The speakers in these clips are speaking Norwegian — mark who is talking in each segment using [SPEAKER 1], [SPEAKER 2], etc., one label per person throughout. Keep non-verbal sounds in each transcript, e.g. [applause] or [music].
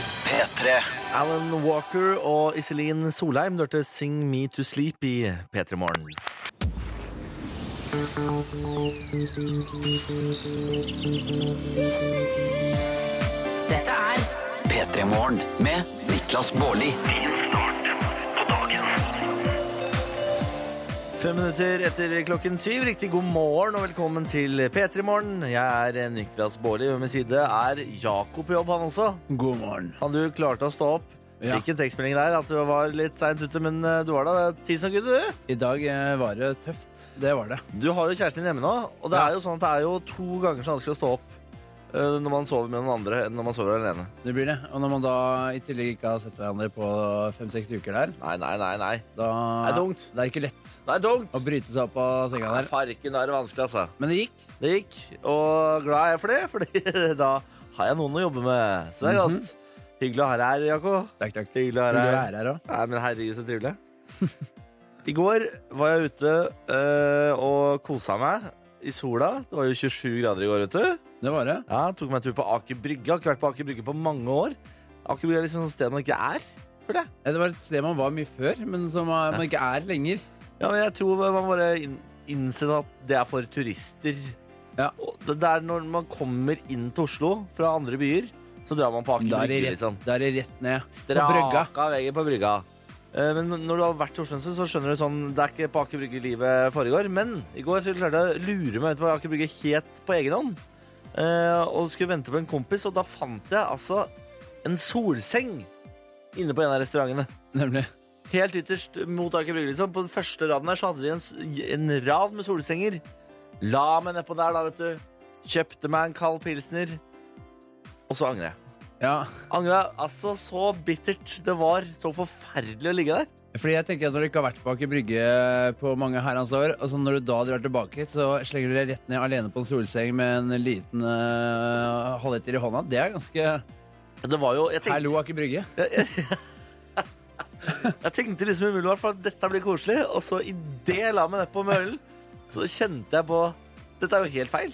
[SPEAKER 1] P3.
[SPEAKER 2] Alan Walker og Iselin Solheim du hørte 'Sing Me To Sleep' i P3 Morgen.
[SPEAKER 3] Dette er
[SPEAKER 1] P3 Morgen med Niklas Baarli.
[SPEAKER 2] Fem minutter etter klokken syv. Riktig god morgen og velkommen til P3 Morgen. Jeg er eh, Niklas Baarli, og ved min side er Jakob på jobb, han også.
[SPEAKER 4] God morgen.
[SPEAKER 2] Han du klarte å stå opp.
[SPEAKER 4] Ja.
[SPEAKER 2] Fikk en tekstmelding der at du var litt seint ute, men eh, du var da tid som gudde, du.
[SPEAKER 4] I dag eh, var det tøft. Det var det.
[SPEAKER 2] Du har jo kjæresten din hjemme nå, og det
[SPEAKER 4] Ja.
[SPEAKER 2] er jo sånn at det er jo to ganger så vanskelig å stå opp eh, når man sover med noen andre enn når man sover alene.
[SPEAKER 4] Det blir det. Og når man da i tillegg ikke har sett hverandre på fem-seks uker der,
[SPEAKER 2] Nei, nei, nei. nei.
[SPEAKER 4] da
[SPEAKER 2] Det er tungt.
[SPEAKER 4] Det er ikke lett
[SPEAKER 2] Det er tungt.
[SPEAKER 4] å bryte seg opp av senga der.
[SPEAKER 2] Farken, da er det vanskelig, altså.
[SPEAKER 4] Men det gikk.
[SPEAKER 2] Det gikk, og glad er jeg for det, [laughs] Fordi da har jeg noen å jobbe med. Så det er godt. Hyggelig å ha deg her, Jakob.
[SPEAKER 4] Takk, takk. Vil
[SPEAKER 2] Mhm. Hyggelig å ha
[SPEAKER 4] du
[SPEAKER 2] deg
[SPEAKER 4] være
[SPEAKER 2] her.
[SPEAKER 4] her òg?
[SPEAKER 2] Nei, men herregud, så trivelig. I går var jeg ute øh, og kosa meg i sola. Det var jo 27 grader i går, vet du.
[SPEAKER 4] Det var det.
[SPEAKER 2] Ja, Tok meg en tur på Aker Brygge. Har ikke vært på Aker Brygge på mange år. Aker Brygge er liksom et sted man ikke er, føler jeg.
[SPEAKER 4] Ja, Det var et sted man var mye før, men som man man ikke er lenger.
[SPEAKER 2] Ja, men jeg tror man bare inn- innser at det er for turister.
[SPEAKER 4] Ja.
[SPEAKER 2] Og Det det er når man kommer inn til Oslo fra andre byer, så drar man på Aker
[SPEAKER 4] Da er det
[SPEAKER 2] Brygge,
[SPEAKER 4] rett,
[SPEAKER 2] liksom.
[SPEAKER 4] da er det rett ned. På brygga.
[SPEAKER 2] Straka veggen på brygga. Eh, Men når du har vært i Oslo, en stund, så skjønner du sånn Det er ikke på Aker Brygge livet foregår. Men i går så klarte jeg å lure meg ut på Aker Brygge helt på egen hånd. Eh, Og skulle vente på en kompis, og da fant jeg altså en solseng inne på en av restaurantene.
[SPEAKER 4] Nemlig.
[SPEAKER 2] Helt ytterst mot Aker Brygge, liksom. På den første raden der så hadde de en, s- en rad med solsenger. La meg nedpå der, da, vet du. Kjøpte meg en kald pilsner. Og så angrer jeg.
[SPEAKER 4] Ja.
[SPEAKER 2] Angra altså så bittert. Det var så forferdelig å ligge der.
[SPEAKER 4] Fordi jeg tenker at Når du ikke har vært bak i brygge på mange herrens år, og så når du da drar tilbake hit, så slenger du deg rett ned alene på en solseng med en liten uh, halvliter i hånda. Det er ganske
[SPEAKER 2] Det var jo, jeg, tenkte,
[SPEAKER 4] Hallo, Aker Brygge.
[SPEAKER 2] jeg tenkte liksom umiddelbart for at dette blir koselig, og så idet jeg la meg nedpå med ølen, så kjente jeg på Dette er jo helt feil.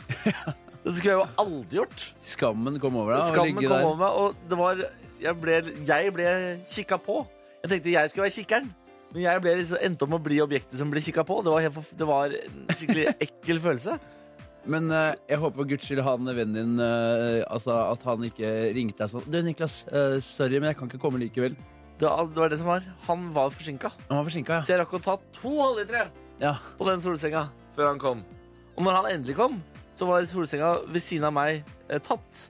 [SPEAKER 2] Det skulle jeg jo aldri gjort.
[SPEAKER 4] Skammen kom over deg. å
[SPEAKER 2] Skammen
[SPEAKER 4] ligge
[SPEAKER 2] kom
[SPEAKER 4] der.
[SPEAKER 2] over meg, og det var Jeg ble, jeg ble kikka på. Jeg tenkte jeg skulle være kikkeren, men jeg ble liksom, endte opp med å bli objektet som ble kikka på. Det var, helt, forf- det var en skikkelig
[SPEAKER 4] [laughs]
[SPEAKER 2] ekkel følelse.
[SPEAKER 4] Men eh, jeg håper for guds skyld han vennen din eh, Altså at han ikke ringte deg sånn Du, Niklas, eh, sorry, men jeg kan ikke komme likevel.
[SPEAKER 2] Det, var- det var det som var. Han var forsinka,
[SPEAKER 4] Han var forsinka,
[SPEAKER 2] så jeg rakk å ta to halvlitere.
[SPEAKER 4] ja. ja.
[SPEAKER 2] på den solsenga før han kom. Og når han endelig kom, så var solsenga ved siden av meg eh, tatt.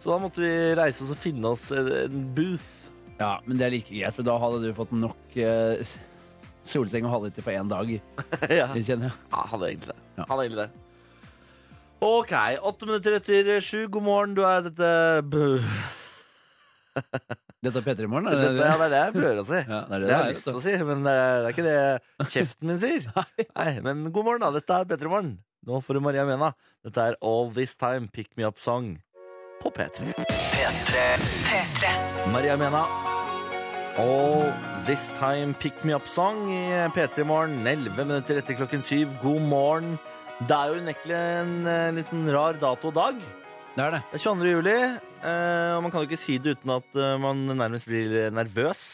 [SPEAKER 2] Så da måtte vi reise oss og finne oss en, en booth. [laughs]
[SPEAKER 4] Ja, men det er like greit, for da hadde du fått nok eh, solseng og halvliter på én dag.
[SPEAKER 2] ja.
[SPEAKER 4] Det kjenner jeg.
[SPEAKER 2] ja, hadde egentlig det.
[SPEAKER 4] Ja.
[SPEAKER 2] Hadde egentlig det. OK. Åtte minutter etter sju. God morgen. Du er dette bø-
[SPEAKER 4] Dette er P3 i morgen?
[SPEAKER 2] dette,
[SPEAKER 4] er det-
[SPEAKER 2] Ja, det er det jeg prøver å si.
[SPEAKER 4] [laughs] Ja, det er det
[SPEAKER 2] Det
[SPEAKER 4] det
[SPEAKER 2] har
[SPEAKER 4] er,
[SPEAKER 2] jeg lyst
[SPEAKER 4] vet
[SPEAKER 2] til å si, men det er det er ikke det kjeften min
[SPEAKER 4] [laughs]
[SPEAKER 2] sier. Nei, Men god morgen, da. Dette er P3 Morgen. Nå får du Maria Mena. Dette er All This Time Pick Me Up Song på P3. Maria Mena. All This Time Pick Me Up Song i P3 Morgen. 11 minutter etter klokken syv. God morgen. Det er jo unektelig en eh, litt sånn rar dato og dag.
[SPEAKER 4] du. Det er det.
[SPEAKER 2] Det er 22. juli, eh, og man kan jo ikke si det uten at eh, man nærmest blir nervøs.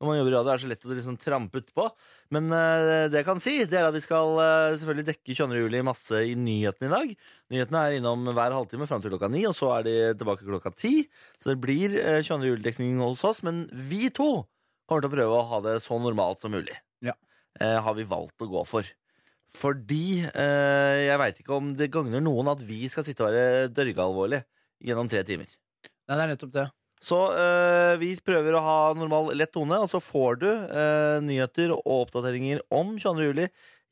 [SPEAKER 2] Når man jobber i radio, er det så lett å liksom trampe utpå. Men eh, det jeg kan si, det er at vi skal eh, selvfølgelig dekke 22. juli masse i nyhetene i dag. Nyhetene er innom hver halvtime fram til klokka ni, og så er de tilbake klokka ti. Så det blir eh, 22. juli-dekning hos oss, men vi to kommer til å prøve å ha det så normalt som mulig.
[SPEAKER 4] Ja.
[SPEAKER 2] Eh, har vi valgt å gå for. Fordi eh, jeg veit ikke om det gagner noen at vi skal sitte og være dørgealvorlige gjennom tre timer.
[SPEAKER 4] Nei, det er nettopp det.
[SPEAKER 2] Så øh, vi prøver å ha normal lett tone, og så får du øh, nyheter og oppdateringer om 22. juli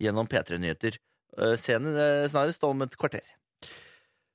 [SPEAKER 2] gjennom P3 Nyheter. Uh, scenen øh, snarest om et kvarter.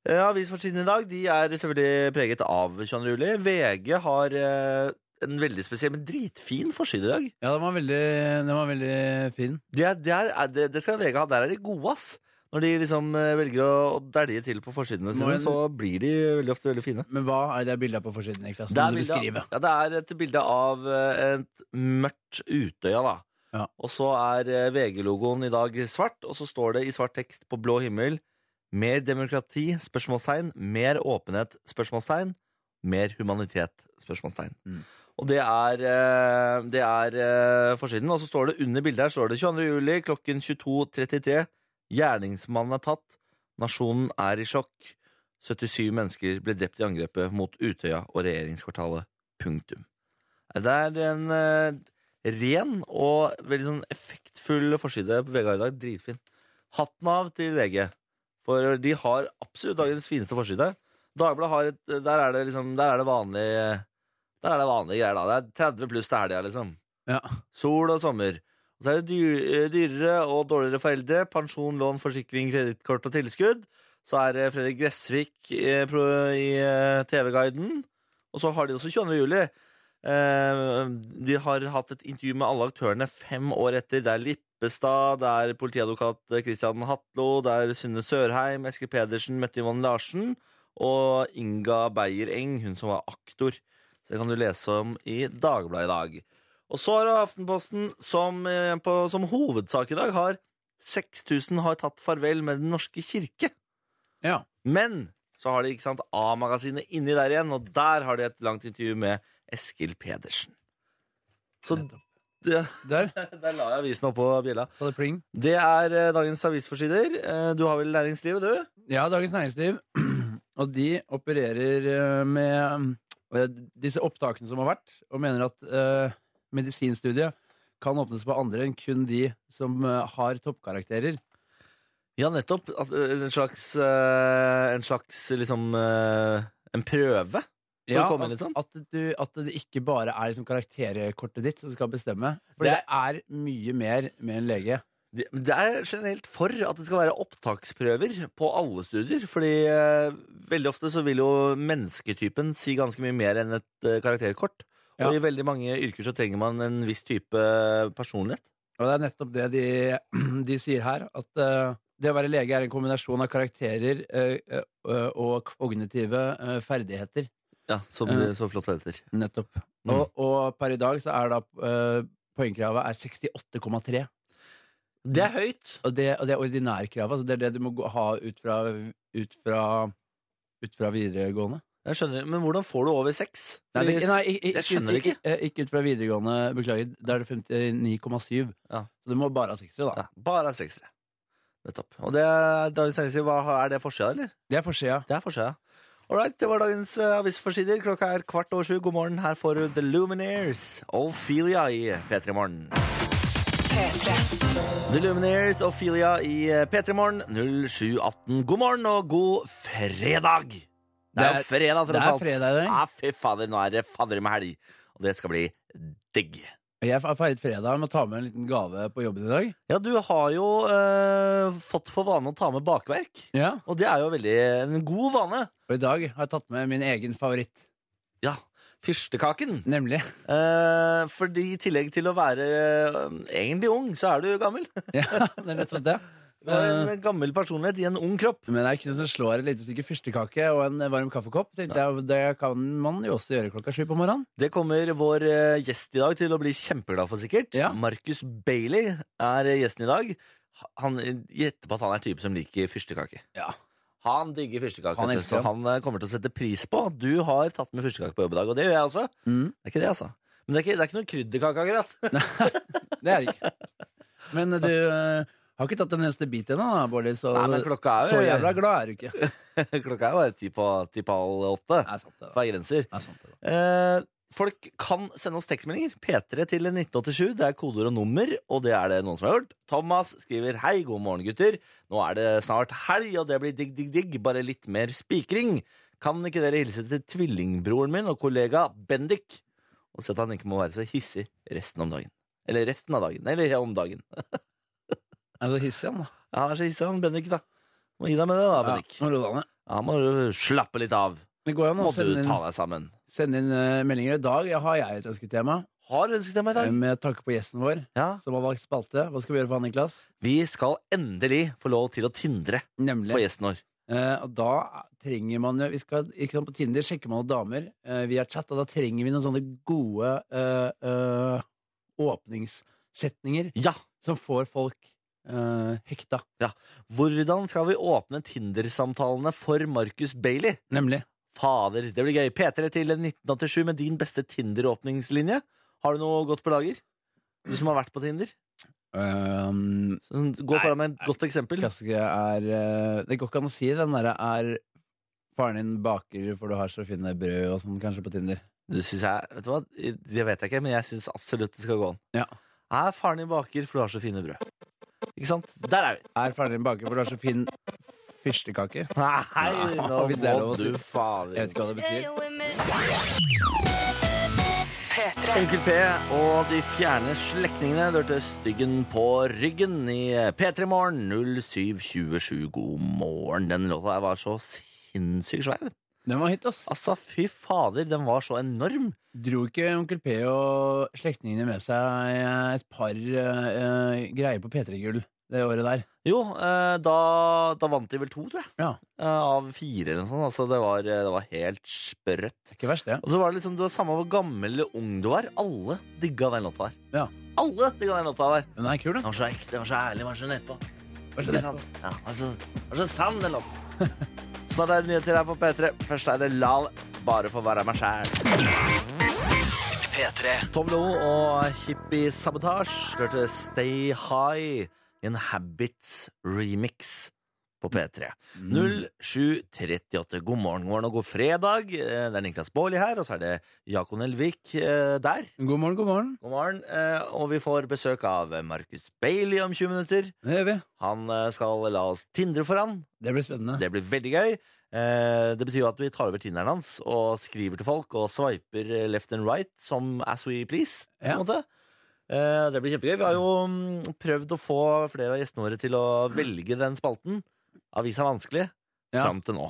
[SPEAKER 2] Eh, Avisforsiden i dag de er selvfølgelig preget av 22. juli. VG har eh, en veldig spesiell, men dritfin forside i dag.
[SPEAKER 4] Ja, den var veldig, den var veldig fin.
[SPEAKER 2] Det, er- det, er, er det, det skal VG ha. Der er de gode, ass. Når de liksom eh, velger å, å dælje til på forsidene
[SPEAKER 4] Må
[SPEAKER 2] sine,
[SPEAKER 4] en-
[SPEAKER 2] så blir de veldig ofte veldig fine.
[SPEAKER 4] Men hva er det bildet på forsiden? Niklas?
[SPEAKER 2] Det
[SPEAKER 4] Det
[SPEAKER 2] er,
[SPEAKER 4] du
[SPEAKER 2] bilde,
[SPEAKER 4] beskrive.
[SPEAKER 2] ja, det er et bilde av eh, et mørkt Utøya, da.
[SPEAKER 4] Ja.
[SPEAKER 2] Og så er eh, VG-logoen i dag svart, og så står det i svart tekst på blå himmel Mer demokrati? spørsmålstegn. Mer åpenhet? spørsmålstegn. mer humanitet? spørsmålstegn.
[SPEAKER 4] Mm.
[SPEAKER 2] Og det er, eh, det er eh, forsiden. Og så står det under bildet her står det 22. juli klokken 22.33. Gjerningsmannen er tatt. Nasjonen er i sjokk. 77 mennesker ble drept i angrepet mot Utøya og regjeringskvartalet. Punktum. Det er en eh, ren og veldig sånn effektfull forside på VG i dag. Dritfin. Hatten av til VG, for de har absolutt dagens fineste forside. Dagbladet har et Der er det liksom Der er det vanlig Der er det vanlige greier, da. Det er 30 pluss til helga, liksom.
[SPEAKER 4] Ja.
[SPEAKER 2] Sol og sommer. Og så er det dy- dyrere og dårligere for eldre. Pensjon, lån, forsikring, kredittkort og tilskudd. Så er det Fredrik Gressvik eh, pro- i eh, TV-guiden. Og så har de også 22. juli. Eh, De har hatt et intervju med alle aktørene fem år etter. Det er Lippestad, det er politiadvokat eh, Christian Hatlo, det er Synne Sørheim, Eske Pedersen, Mette Yvonne Larsen og Inga Beyer-Eng, hun som var aktor. Så det kan du lese om i Dagbladet i dag. Og så har du Aftenposten, som, eh, på, som hovedsak i dag har 6000 har tatt farvel med Den norske kirke.
[SPEAKER 4] ja.
[SPEAKER 2] Men så har de ikke sant, A-magasinet inni der igjen, og der har de et langt intervju med Eskil Pedersen. Så det,
[SPEAKER 4] Der
[SPEAKER 2] [laughs] der la jeg avisen oppå bjella.
[SPEAKER 4] sa det pling.
[SPEAKER 2] Det er eh, dagens avisforsider. Eh, Du har vel næringslivet, du?
[SPEAKER 4] Ja, Dagens Næringsliv. [clears throat] Og de opererer eh, med eh, disse opptakene som har vært, og mener at eh, medisinstudiet kan åpnes for andre enn kun de som eh, har toppkarakterer.
[SPEAKER 2] Ja, nettopp. At, eh, En slags, eh, en slags liksom eh, En prøve? Får du komme
[SPEAKER 4] at,
[SPEAKER 2] inn litt sånn?
[SPEAKER 4] at, du, at det ikke bare er liksom karakterkortet ditt som skal bestemme. For det,
[SPEAKER 2] Det-
[SPEAKER 4] er mye mer med en lege.
[SPEAKER 2] Det det er generelt for at det skal være opptaksprøver på alle studier. Fordi eh, veldig ofte så vil jo mennesketypen si ganske mye mer enn et eh, karakterkort.
[SPEAKER 4] Ja.
[SPEAKER 2] Og i veldig mange yrker så trenger man en viss type personlighet.
[SPEAKER 4] Og det er nettopp det de, [clears throat] de sier her. At eh, det å være lege er en kombinasjon av karakterer eh, eh, og kognitive eh, ferdigheter.
[SPEAKER 2] Ja, Som
[SPEAKER 4] Ja.
[SPEAKER 2] det så flott heter.
[SPEAKER 4] Nettopp.
[SPEAKER 2] Mm.
[SPEAKER 4] Og, og per i dag så er da eh, poengkravet er 68,3.
[SPEAKER 2] Det er høyt.
[SPEAKER 4] Og det, og det er ordinærkravet. Altså det er det du må gå, ha ut fra, ut fra, ut fra videregående.
[SPEAKER 2] Jeg skjønner, Men hvordan får du over seks?
[SPEAKER 4] Nei, det,
[SPEAKER 2] Fordi-
[SPEAKER 4] nei, ikke,
[SPEAKER 2] jeg skjønner det ikke.
[SPEAKER 4] eh, Ikke ut fra videregående, beklager. Da er det 59,7.
[SPEAKER 2] Ja.
[SPEAKER 4] Så du må bare ha 60, da.
[SPEAKER 2] ja, bare seksere. Nettopp. Og det er dagens tegneserie. Hva- Er det forsida, eller?
[SPEAKER 4] Det er forsida.
[SPEAKER 2] Det er forsida. All right, det var dagens eh, avisforsider. Klokka er kvart over sju. God morgen. Her får du The Lumineers, Ophelia i P3 Morgen. The Lumineers, Ophelia i eh, P3 Morgen, 0718. God morgen og god fredag! Det er
[SPEAKER 4] Det er-
[SPEAKER 2] jo fredag,
[SPEAKER 4] det
[SPEAKER 2] tross
[SPEAKER 4] er
[SPEAKER 2] alt.
[SPEAKER 4] fredag i dag.
[SPEAKER 2] Ja, fy fader, nå er det fader med helg. Og det skal bli digg.
[SPEAKER 4] Og Jeg har feiret fredag med å ta med en liten gave på jobben i dag.
[SPEAKER 2] Ja, du har jo eh, fått for vane å ta med bakverk.
[SPEAKER 4] Ja.
[SPEAKER 2] Og det er jo veldig en god vane.
[SPEAKER 4] Og i dag har jeg tatt med min egen favoritt,
[SPEAKER 2] Ja, fyrstekaken. [laughs]
[SPEAKER 4] nemlig
[SPEAKER 2] Eh, fordi i tillegg til å være eh, egentlig ung, så er du gammel. [laughs]
[SPEAKER 4] Ja, det er nettopp [laughs] det.
[SPEAKER 2] Du er
[SPEAKER 4] Eh.
[SPEAKER 2] en gammel personlighet i en ung kropp.
[SPEAKER 4] Men det er ikke noe som slår et lite stykke fyrstekake og en varm kaffekopp. Tenkte jeg, det kan man jo også gjøre klokka sju på morgenen.
[SPEAKER 2] Det kommer vår eh, gjest i dag til å bli kjempeglad for, sikkert.
[SPEAKER 4] Ja.
[SPEAKER 2] Marcus Bailey er eh, gjesten i dag. Han gjetter på at han er type som liker fyrstekake.
[SPEAKER 4] Ja.
[SPEAKER 2] Han digger fyrstekake,
[SPEAKER 4] Han
[SPEAKER 2] vet du,
[SPEAKER 4] elsker
[SPEAKER 2] så han eh, kommer til å sette pris på at du har tatt med fyrstekake på jobb i dag. Og det gjør jeg også.
[SPEAKER 4] Mm,
[SPEAKER 2] Det er ikke det, altså. Men det er ikke, det er ikke noe krydderkake, akkurat.
[SPEAKER 4] det er det ikke. Men du eh, har ikke tatt en eneste bit ennå, da, Bårdli, så,
[SPEAKER 2] Nei, men klokka er jo
[SPEAKER 4] så jævla glad er du
[SPEAKER 2] [laughs]
[SPEAKER 4] ikke. Det
[SPEAKER 2] Klokka er jo bare ti på, ti på halv åtte.
[SPEAKER 4] er sant, det. da.
[SPEAKER 2] Feilgrenser.
[SPEAKER 4] Det er sant, det. da.
[SPEAKER 2] Eh, folk kan sende oss tekstmeldinger. P3 til 1987. Det er koder og nummer, og det er det noen som har gjort. Thomas skriver 'Hei, god morgen, gutter'. Nå er det snart helg, og det blir digg, digg, digg. Bare litt mer spikring. Kan ikke dere hilse til tvillingbroren min og kollega Bendik? Og si at han ikke må være så hissig resten om dagen. Eller resten av dagen. Eller om dagen.
[SPEAKER 4] Er du så hissig, han, da?
[SPEAKER 2] Ja, Han er så hissig, han Bendik, da. Må gi deg med det, da, Bendik.
[SPEAKER 4] Ja, nå roer han ned.
[SPEAKER 2] Ja, må du slappe litt av.
[SPEAKER 4] det går jo an å
[SPEAKER 2] Må du
[SPEAKER 4] sende inn,
[SPEAKER 2] ta deg sammen.
[SPEAKER 4] sende inn eh, meldinger. I dag har jeg et ønsketema
[SPEAKER 2] Har du ønsket deg meg i
[SPEAKER 4] eh,
[SPEAKER 2] dag?
[SPEAKER 4] med tanke på gjesten vår,
[SPEAKER 2] Ja.
[SPEAKER 4] som har valgt spalte. Hva skal vi gjøre for han, Niklas?
[SPEAKER 2] Vi skal endelig få lov til å tindre
[SPEAKER 4] Nemlig.
[SPEAKER 2] for gjesten vår.
[SPEAKER 4] Eh, og da trenger man jo vi skal, ikke sant, På Tinder sjekker man jo damer eh, via chat, og da trenger vi noen sånne gode eh, eh, åpningssetninger
[SPEAKER 2] Ja,
[SPEAKER 4] som får folk eh, hekta.
[SPEAKER 2] Hvordan skal vi åpne Tinder-samtalene for Marcus Bailey?
[SPEAKER 4] Nemlig.
[SPEAKER 2] Fader, det blir gøy. P3 til 1987 med din beste Tinder-åpningslinje. Har du noe godt på lager? Du som har vært på Tinder.
[SPEAKER 4] Um,
[SPEAKER 2] Sånn, Gå foran med et godt eksempel.
[SPEAKER 4] klassiker er eh, Det går ikke an å si den derre er Faren din baker for du har så fine brød og sånn, kanskje, på Tinder.
[SPEAKER 2] Det synes jeg, vet du hva? Det vet jeg ikke, men jeg syns absolutt det skal gå an.
[SPEAKER 4] Ja.
[SPEAKER 2] Er faren din baker, for du har så fine brød. Ikke sant? Der er vi.
[SPEAKER 4] Er faren din baker for du har så fin fyrstekake?
[SPEAKER 2] Nei, nå
[SPEAKER 4] Hvis det er
[SPEAKER 2] må
[SPEAKER 4] lov å si.
[SPEAKER 2] du fader.
[SPEAKER 4] Jeg vet ikke hva det betyr.
[SPEAKER 2] Onkel P og de fjerne slektningene. Du hørte Styggen på ryggen i P3 Morgen 0727. God morgen. Den låta her var så sinnssykt svær.
[SPEAKER 4] Den var hit, ass.
[SPEAKER 2] Altså, fy fader, den var så enorm.
[SPEAKER 4] Dro ikke onkel P og slektningene med seg eh, et par eh, eh, greier på P3-gull det året der?
[SPEAKER 2] Jo, eh, da, da vant de vel to, tror jeg.
[SPEAKER 4] Ja.
[SPEAKER 2] Eh, Av fire eller noe sånt. Altså, det var, det var helt sprøtt.
[SPEAKER 4] Det er ikke verst, det.
[SPEAKER 2] Og så var det liksom, det var samme hvor gammel eller ung du var. Alle digga den låta der.
[SPEAKER 4] Ja.
[SPEAKER 2] Alle digga den låta der.
[SPEAKER 4] Den er kul,
[SPEAKER 2] Den
[SPEAKER 4] da.
[SPEAKER 2] var så ekte, den var så ærlig, den var så nedpå.
[SPEAKER 4] Hva
[SPEAKER 2] Ikke
[SPEAKER 4] skjer
[SPEAKER 2] sant? Ja, den var så, den var så sann, den [laughs] låta. Snart er det nyheter her på P3. Først er det Lal. Bare for å være meg sjæl.
[SPEAKER 1] P3.
[SPEAKER 2] Tom Lo og Hippie Sabotage hørte Stay High i en Habits remix på P3.
[SPEAKER 4] Mm.
[SPEAKER 2] 0738. God morgen, god morgen og god fredag. Eh, Det er Niklas Baarli her, og så er det Jakob Nelvik eh, der.
[SPEAKER 4] God morgen, god morgen.
[SPEAKER 2] God morgen. Eh, Og vi får besøk av Markus Bailey om 20 minutter.
[SPEAKER 4] Det gjør vi.
[SPEAKER 2] Han eh, skal la oss tindre for han.
[SPEAKER 4] Det blir spennende.
[SPEAKER 2] Det blir veldig gøy. Eh, Det betyr jo at vi tar over tinderen hans og skriver til folk og sveiper eh, left and right som as we please. på
[SPEAKER 4] Ja.
[SPEAKER 2] en måte. Eh, Det blir kjempegøy. Vi har jo mm, prøvd å få flere av gjestene våre til å velge den spalten. Avisa er vanskelig.
[SPEAKER 4] Ja.
[SPEAKER 2] Fram til nå.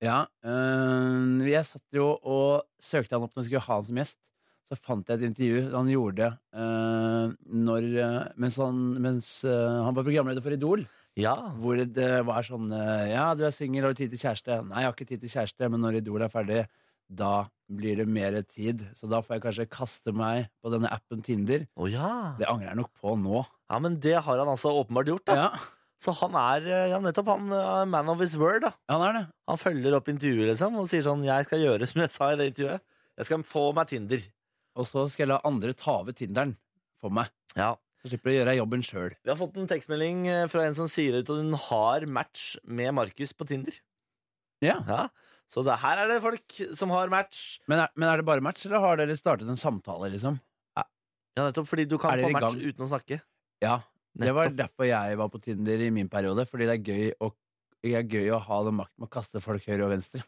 [SPEAKER 4] Ja, øh, jeg satt jo og søkte han opp når jeg skulle ha han som gjest. Så fant jeg et intervju han gjorde øh, når, øh, mens, han, mens øh, han var programleder for Idol.
[SPEAKER 2] Ja,
[SPEAKER 4] Hvor det var sånn øh, Ja, du er singel, har du tid til kjæreste? Nei, jeg har ikke tid til kjæreste, men når Idol er ferdig, da blir det mer tid. Så da får jeg kanskje kaste meg på denne appen Tinder.
[SPEAKER 2] Å ja.
[SPEAKER 4] Det angrer jeg nok på nå.
[SPEAKER 2] ja! Men det har han altså åpenbart gjort. da.
[SPEAKER 4] Ja,
[SPEAKER 2] Så han er eh, ja, nettopp han eh, man of his word. da.
[SPEAKER 4] han er det.
[SPEAKER 2] Han følger opp intervjuet liksom, og sier sånn 'Jeg skal gjøre som jeg sa i det intervjuet'. Jeg skal få meg Tinder.
[SPEAKER 4] Og så skal jeg la andre ta over Tinderen for meg.
[SPEAKER 2] Ja.
[SPEAKER 4] Så slipper jeg å gjøre jobben sjøl.
[SPEAKER 2] Vi har fått en tekstmelding eh, fra en som sier ut at hun har match med Markus på Tinder.
[SPEAKER 4] Ja.
[SPEAKER 2] Ja. Så det, her er det folk som har match.
[SPEAKER 4] Men er, men er det bare match, eller har dere startet en samtale, liksom?
[SPEAKER 2] Ja, nettopp fordi du kan
[SPEAKER 4] Er
[SPEAKER 2] få
[SPEAKER 4] dere i
[SPEAKER 2] match
[SPEAKER 4] gang?
[SPEAKER 2] uten å snakke.
[SPEAKER 4] Ja, det var
[SPEAKER 2] Nettopp.
[SPEAKER 4] derfor jeg var på Tinder i min periode, fordi det er gøy å, det er gøy å ha den makten med å kaste folk høyre og venstre.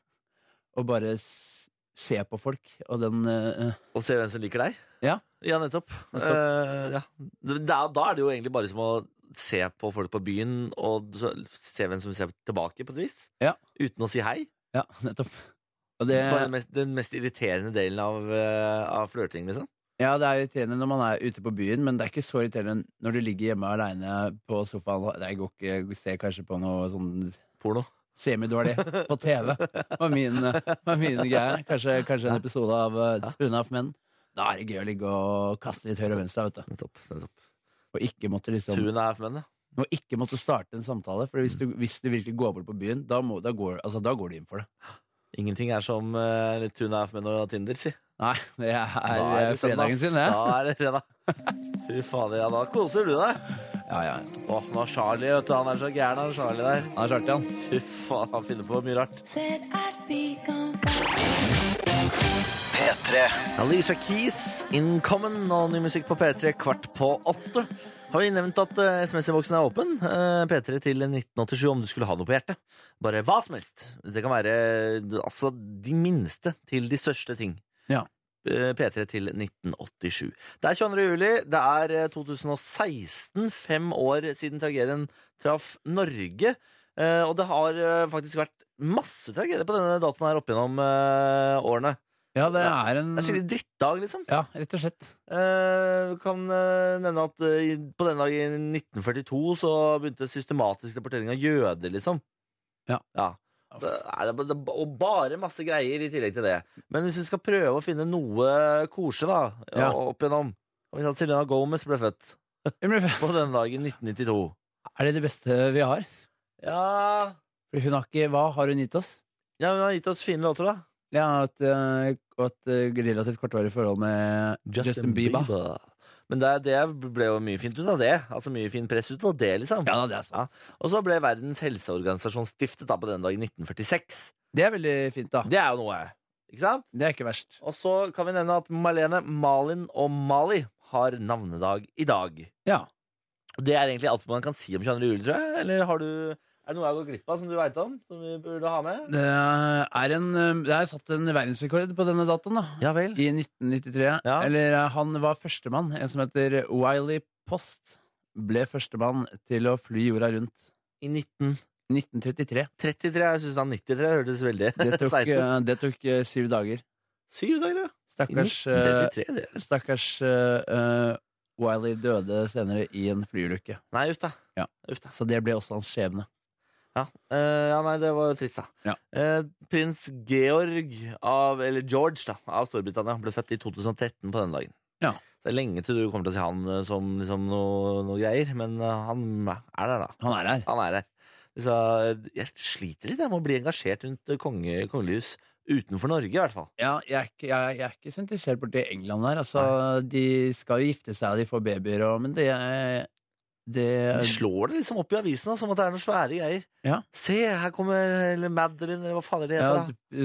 [SPEAKER 4] Og bare s se på folk, og den eh,
[SPEAKER 2] Og se hvem som liker deg.
[SPEAKER 4] Ja.
[SPEAKER 2] ja nettopp. Eh, ja. Da, da er det jo egentlig bare som å se på folk på byen, og så se hvem som ser tilbake, på et vis.
[SPEAKER 4] Ja.
[SPEAKER 2] Uten å si hei.
[SPEAKER 4] Ja, nettopp. Og det,
[SPEAKER 2] Bare den mest, den mest irriterende delen av, eh, av flørting, liksom.
[SPEAKER 4] ja, det er irriterende når man er ute på byen, men det er ikke så irriterende når du ligger hjemme aleine på sofaen og det går ikke, du ser kanskje på noe sånn
[SPEAKER 2] Porno.
[SPEAKER 4] semidårlig på TV. Var min, var min greie. Kanskje, kanskje en episode av eh, Two and a Half Men. Da er det gøy å ligge og kaste litt høyre og venstre. Vet du.
[SPEAKER 2] Nettopp. nettopp.
[SPEAKER 4] Og ikke måtte liksom
[SPEAKER 2] Tuen er for menn, ja.
[SPEAKER 4] Og ikke måtte starte en samtale. For hvis du, hvis du virkelig går bort på byen, da, må, da, går, altså, da går du inn for det.
[SPEAKER 2] Ingenting er som uh, tuen er for menn og Tinder, si.
[SPEAKER 4] Nei, det er,
[SPEAKER 2] Da
[SPEAKER 4] eh,
[SPEAKER 2] det søndag.
[SPEAKER 4] fredagen sin, det.
[SPEAKER 2] Da er det fredag. Fy fader, ja, da koser du deg.
[SPEAKER 4] Ja, ja.
[SPEAKER 2] Åh, nå er Charlie, vet du. Han er så gæren, han Charlie der.
[SPEAKER 4] Da starter han.
[SPEAKER 2] Fy faen, han finner på mye rart.
[SPEAKER 1] P3.
[SPEAKER 2] Alicia Keys, Incommon og ny musikk på P3 kvart på åtte. Har vi nevnt at eh, SMS-boksen er åpen? Eh, P3 til 1987 om du skulle ha noe på hjertet. Bare hva som helst. Det kan være eh, altså de minste til de største ting.
[SPEAKER 4] Ja.
[SPEAKER 2] Eh, P3 til 1987. Det er 22. juli. Det er eh, 2016, fem år siden tragedien traff Norge. Eh, Og det har eh, faktisk vært masse tragedier på denne datoen her opp gjennom eh, årene.
[SPEAKER 4] Ja, det er en
[SPEAKER 2] Det er skikkelig drittdag, liksom.
[SPEAKER 4] Ja, rett og slett.
[SPEAKER 2] Eh, kan eh, nevne at eh, i- på denne dagen i 1942 så begynte systematisk deportering av jøder, liksom.
[SPEAKER 4] Ja.
[SPEAKER 2] Det er, det, det, og bare masse greier i tillegg til det. Men hvis vi skal prøve å finne noe koselig, da,
[SPEAKER 4] Ja.
[SPEAKER 2] og opp igjennom Kan vi si at Selena Gomez ble født
[SPEAKER 4] Er
[SPEAKER 2] på denne dagen i 1992.
[SPEAKER 4] det det beste vi har?
[SPEAKER 2] Ja,
[SPEAKER 4] For hun har ikke Hva har hun gitt oss?
[SPEAKER 2] ja Hun har gitt oss fine låter, da.
[SPEAKER 4] Ja, at, eh, og et eh, relativt kortvarig forhold med Justin, Bieber.
[SPEAKER 2] Men det, det ble jo mye fint ut av det. Altså mye fin press ut av det, liksom.
[SPEAKER 4] Ja, det er sant.
[SPEAKER 2] Ja. Og så ble Verdens helseorganisasjon stiftet da på den dagen 1946.
[SPEAKER 4] Det er veldig fint, da.
[SPEAKER 2] Det er jo noe. Ikke sant?
[SPEAKER 4] Det er ikke verst.
[SPEAKER 2] Og så kan vi nevne at Malene, Malin og Mali har navnedag i dag.
[SPEAKER 4] Ja.
[SPEAKER 2] Og Det er egentlig alt man kan si om 22. juli, tror jeg. Eller har du, er det noe jeg har gått glipp av som du veit om? Som vi burde ha med?
[SPEAKER 4] Det er en eh, Det er satt en verdensrekord på denne datoen, da.
[SPEAKER 2] Ja vel.
[SPEAKER 4] I 1993.
[SPEAKER 2] Ja.
[SPEAKER 4] Eller eh, han var førstemann. En som heter Wiley Post ble førstemann til å fly jorda rundt.
[SPEAKER 2] I 1933.
[SPEAKER 4] 1933.
[SPEAKER 2] Jeg syns han 93 hørtes veldig
[SPEAKER 4] Det
[SPEAKER 2] [laughs]
[SPEAKER 4] tok,
[SPEAKER 2] seigt ut.
[SPEAKER 4] eh, det tok eh, syv dager.
[SPEAKER 2] Syv dager, ja. I
[SPEAKER 4] Stakkars, eh,
[SPEAKER 2] 1933, det.
[SPEAKER 4] stakkars eh, eh, Wiley døde senere i en flyulykke.
[SPEAKER 2] Nei, uff da.
[SPEAKER 4] Ja.
[SPEAKER 2] Uff da.
[SPEAKER 4] Så det ble også hans skjebne.
[SPEAKER 2] Ja. Eh, ja, nei, det var jo trist, da.
[SPEAKER 4] Ja.
[SPEAKER 2] Eh, prins Georg av Eller George, da, av Storbritannia, ble født i 2013 på denne dagen.
[SPEAKER 4] Ja.
[SPEAKER 2] Det er lenge til du kommer til å se han eh, som liksom noe, noe greier, men eh, han er der, da.
[SPEAKER 4] Han er her.
[SPEAKER 2] Han er der. Så eh, jeg sliter litt jeg med å bli engasjert rundt eh, konge, kongelig hus utenfor Norge, i hvert fall.
[SPEAKER 4] Ja, jeg er ikke, jeg, jeg er ikke så interessert borti England der. Altså, de skal jo gifte seg, og de får babyer og Men det er det,
[SPEAKER 2] De slår det liksom opp i avisen da, som at det er noen svære greier.
[SPEAKER 4] Eh. Ja.
[SPEAKER 2] Se, her kommer eller Madeline, eller hva faen er det
[SPEAKER 4] ja,
[SPEAKER 2] heter,
[SPEAKER 4] d-
[SPEAKER 2] da.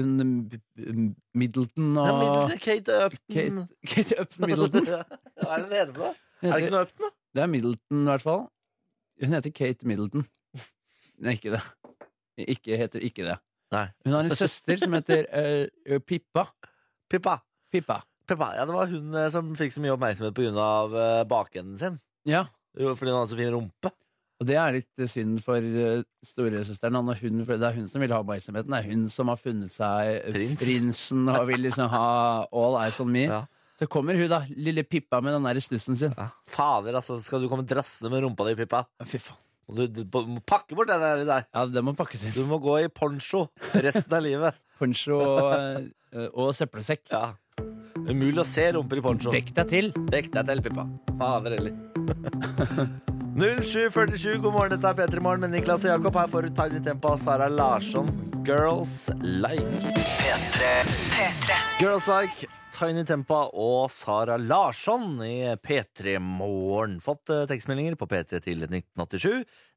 [SPEAKER 4] n- Middleton
[SPEAKER 2] Ja,
[SPEAKER 4] og
[SPEAKER 2] Middleton, Kate Upton.
[SPEAKER 4] Kate, [laughs] Kate Upton
[SPEAKER 2] [laughs]
[SPEAKER 4] Middleton.
[SPEAKER 2] Hva er det det heter for noe? Mm. Er det ikke
[SPEAKER 4] Det
[SPEAKER 2] noe Upton, da?
[SPEAKER 4] er Middleton, i hvert fall. Hun heter Kate Middleton. Nei, ikke det. Ikke heter ikke det.
[SPEAKER 2] Nei.
[SPEAKER 4] Hun har en søster som heter eh, Pippa.
[SPEAKER 2] Pippa.
[SPEAKER 4] Pippa.
[SPEAKER 2] Pippa. Ja, det var hun eh, som fikk så mye oppmerksomhet pga. Uh, bakenden sin.
[SPEAKER 4] Ja.
[SPEAKER 2] Jo, Fordi hun hadde så fin rumpe.
[SPEAKER 4] Og det er litt synd for eh, storesøsteren. Han og hun, for det er hun som vil ha oppmerksomheten. Det er hun som har funnet seg eh,
[SPEAKER 2] Prins.
[SPEAKER 4] prinsen og vil liksom ha all eyes on me.
[SPEAKER 2] Ja.
[SPEAKER 4] Så kommer hun, da, lille Pippa med den der stussen sin.
[SPEAKER 2] Ja. Fader, altså. Skal du komme drassende med rumpa di, Pippa?
[SPEAKER 4] Fy faen.
[SPEAKER 2] Må Du, du må pakke bort den der. der.
[SPEAKER 4] Ja, det må pakkes inn.
[SPEAKER 2] Du må gå i poncho resten av livet.
[SPEAKER 4] Poncho og, eh, og søppelsekk.
[SPEAKER 2] Ja. Umulig å se rumper i poncho.
[SPEAKER 4] Dekk deg til!
[SPEAKER 2] Dekk deg til, Pippa. Fader heller. [laughs] 0747, god morgen. Dette er P3 Morgen med Niklas og Jakob. Her får du Tiny Tempo av Sara Larsson. Girls Like. Girls Like, Tiny Tempa og Sara Larsson i P3 Morgen. Fått eh, tekstmeldinger på P3 til 1987.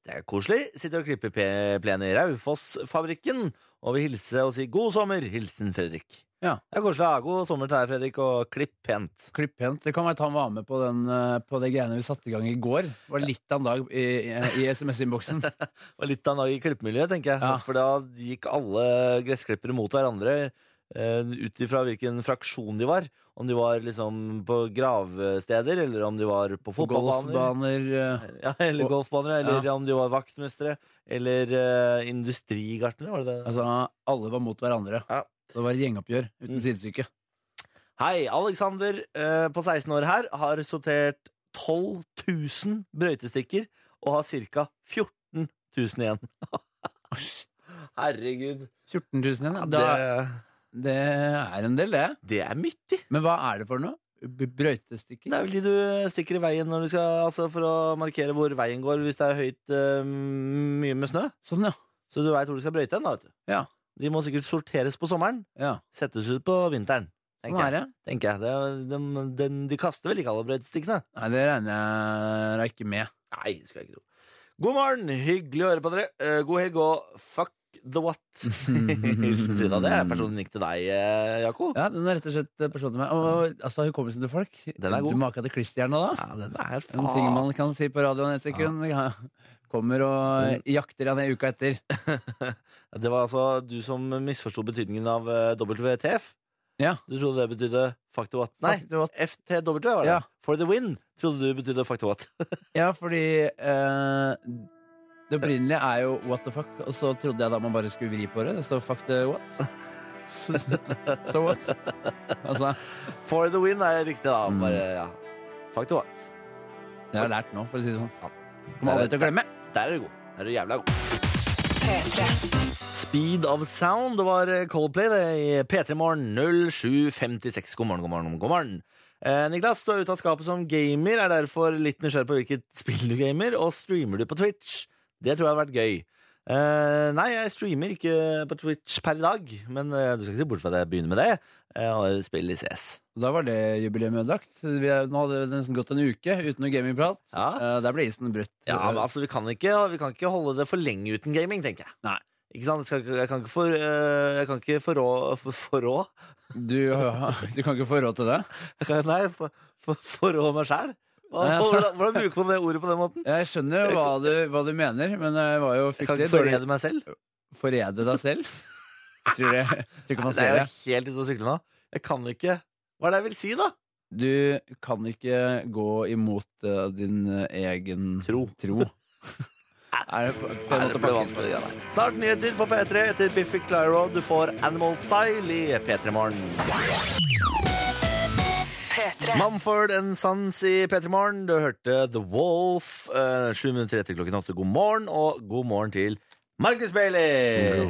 [SPEAKER 2] Det er koselig. Sitter og klipper pe- plenen i Raufoss-fabrikken og vil hilse og si god sommer. Hilsen Fredrik.
[SPEAKER 4] Ja.
[SPEAKER 2] Det er koselig. ja. God sommer til deg, Fredrik, og klipp pent.
[SPEAKER 4] Klipp pent. Det kan være at han var med på, den, eh, på det greiene vi satte i gang i går. Det var litt av en dag i, i, i
[SPEAKER 2] [laughs]
[SPEAKER 4] SMS-innboksen.
[SPEAKER 2] Og litt av en dag i klippemiljøet, tenker jeg.
[SPEAKER 4] Ja.
[SPEAKER 2] For da gikk alle gressklippere mot hverandre eh, ut ifra hvilken fraksjon de var. Om de var liksom på gravsteder, eller om de var på fotballbaner.
[SPEAKER 4] Golfbaner. eh,
[SPEAKER 2] Ja, eller
[SPEAKER 4] Og-
[SPEAKER 2] golfbaner, eller om de var vaktmestere, eller eh, industrigartnere, var det det?
[SPEAKER 4] Altså, alle var mot hverandre.
[SPEAKER 2] Ja.
[SPEAKER 4] Det var et gjengoppgjør
[SPEAKER 2] Mm.
[SPEAKER 4] uten sidestykke.
[SPEAKER 2] Hei, Alexander eh, på 16 år her har sortert 12 000 brøytestikker og har ca. 14 000 igjen. Herregud.
[SPEAKER 4] 14 000 igjen, ja.
[SPEAKER 2] Ja,
[SPEAKER 4] Da,
[SPEAKER 2] det...
[SPEAKER 4] det er en del, det.
[SPEAKER 2] Det er midt i.
[SPEAKER 4] Men hva er det for noe? B-
[SPEAKER 2] Det
[SPEAKER 4] Brøytestikker?
[SPEAKER 2] er vel de du stikker i veien når du skal, altså for å markere hvor veien går hvis det er høyt eh, mye med snø.
[SPEAKER 4] Sånn, ja.
[SPEAKER 2] Så du veit hvor du skal brøyte hen, da, vet du.
[SPEAKER 4] Ja.
[SPEAKER 2] De må sikkert sorteres på sommeren.
[SPEAKER 4] ja.
[SPEAKER 2] Settes ut på vinteren.
[SPEAKER 4] Sånn
[SPEAKER 2] Tenker
[SPEAKER 4] er
[SPEAKER 2] jeg.
[SPEAKER 4] det.
[SPEAKER 2] Tenker jeg. Det er, de, den- de kaster vel ikke alle brøytestikkene?
[SPEAKER 4] Nei, det regner jeg da ikke med.
[SPEAKER 2] Nei, det skal jeg ikke tro. God morgen, hyggelig å høre på dere. Eh, god helg og fuck the what.
[SPEAKER 4] [laughs]
[SPEAKER 2] Hilsen Frida. Det er personlig nikk til deg, eh, Jako.
[SPEAKER 4] Ja, Den er rett og slett eh, personlig til meg. Og altså, hukommelsen til folk
[SPEAKER 2] Den er god.
[SPEAKER 4] Du maka til klisterhjerna da.
[SPEAKER 2] Ja, den er
[SPEAKER 4] En ting man kan si på radioen et sekund. Ja. Kommer og jakter han i uka etter.
[SPEAKER 2] Det var altså du som misforsto betydningen av eh, WTF.
[SPEAKER 4] Ja.
[SPEAKER 2] Du trodde det betydde fuck the what? Nei,
[SPEAKER 4] Fuck, det var-
[SPEAKER 2] FTW var det.
[SPEAKER 4] Ja.
[SPEAKER 2] For the win trodde du betydde fuck the what.
[SPEAKER 4] Ja, fordi eh, det opprinnelige er jo what the fuck, og så trodde jeg da man bare skulle vri på det. Så fuck the what. [laughs] Så so what? Altså,
[SPEAKER 2] [laughs] For the win er riktig, da.
[SPEAKER 4] Mm.
[SPEAKER 2] Bare, ja. Fuck the what.
[SPEAKER 4] det har jeg lært nå, for å si det sånn. Kommer aldri til å glemme.
[SPEAKER 2] Der er du god. Der er du jævla god. Speed of Sound, det var eh, Coldplay det i P3 Morgen 0756. God morgen, god morgen, god morgen. Eh, Niklas, du er ute av skapet som gamer, [laughs] er derfor litt nysgjerrig på hvilket spill du gamer, og streamer du på Twitch? Det tror jeg hadde vært gøy. Eh, nei, jeg streamer ikke på Twitch per i dag, men eh, du skal ikke se bort fra at jeg begynner med det. Jeg har spill i CS.
[SPEAKER 4] Da var det jubileet ødelagt. Vi er, nå hadde det nesten gått en uke uten noe gamingprat.
[SPEAKER 2] Ja.
[SPEAKER 4] Eh, der ble isen brutt.
[SPEAKER 2] Ja, men altså, vi kan, ikke, vi kan ikke holde det for lenge uten gaming, tenker jeg.
[SPEAKER 4] Nei.
[SPEAKER 2] Ikke sant? Jeg, skal, ikke- jeg kan ikke for, eh, jeg kan ikke forrå for, forrå. [laughs]
[SPEAKER 4] du, du kan ikke få råd til det?
[SPEAKER 2] Jeg kan- Nei, for, for, forrå meg sjæl.
[SPEAKER 4] Nei, altså.
[SPEAKER 2] Hvordan, hvordan bruker man det ordet på den måten?
[SPEAKER 4] Jeg skjønner jo hva du, hva du mener, men jeg var jo
[SPEAKER 2] Jeg kan
[SPEAKER 4] fryktelig
[SPEAKER 2] ikke
[SPEAKER 4] dårlig
[SPEAKER 2] forrede meg selv.
[SPEAKER 4] Forrede deg
[SPEAKER 2] [laughs]
[SPEAKER 4] selv? Jeg tror, det, jeg tror ikke man
[SPEAKER 2] Det er
[SPEAKER 4] ser
[SPEAKER 2] jo
[SPEAKER 4] det.
[SPEAKER 2] helt ute å sykle nå. Jeg kan ikke Hva er det jeg vil si, da?
[SPEAKER 4] Du kan ikke gå imot eh, din eh, egen
[SPEAKER 2] Tro.
[SPEAKER 4] tro. er det
[SPEAKER 2] Nei,
[SPEAKER 4] pen måte å
[SPEAKER 2] det ble
[SPEAKER 4] pakke inn?
[SPEAKER 2] vanskelig, det der. Snart nyheter på P3 etter Biffy Clyro. Du får Animal Style i P3 Morgen. Mumford and Sons i P3 Morgen. Du hørte The Wolf. eh, Sju minutter etter klokken åtte. God morgen, og god morgen til Markus Bailey!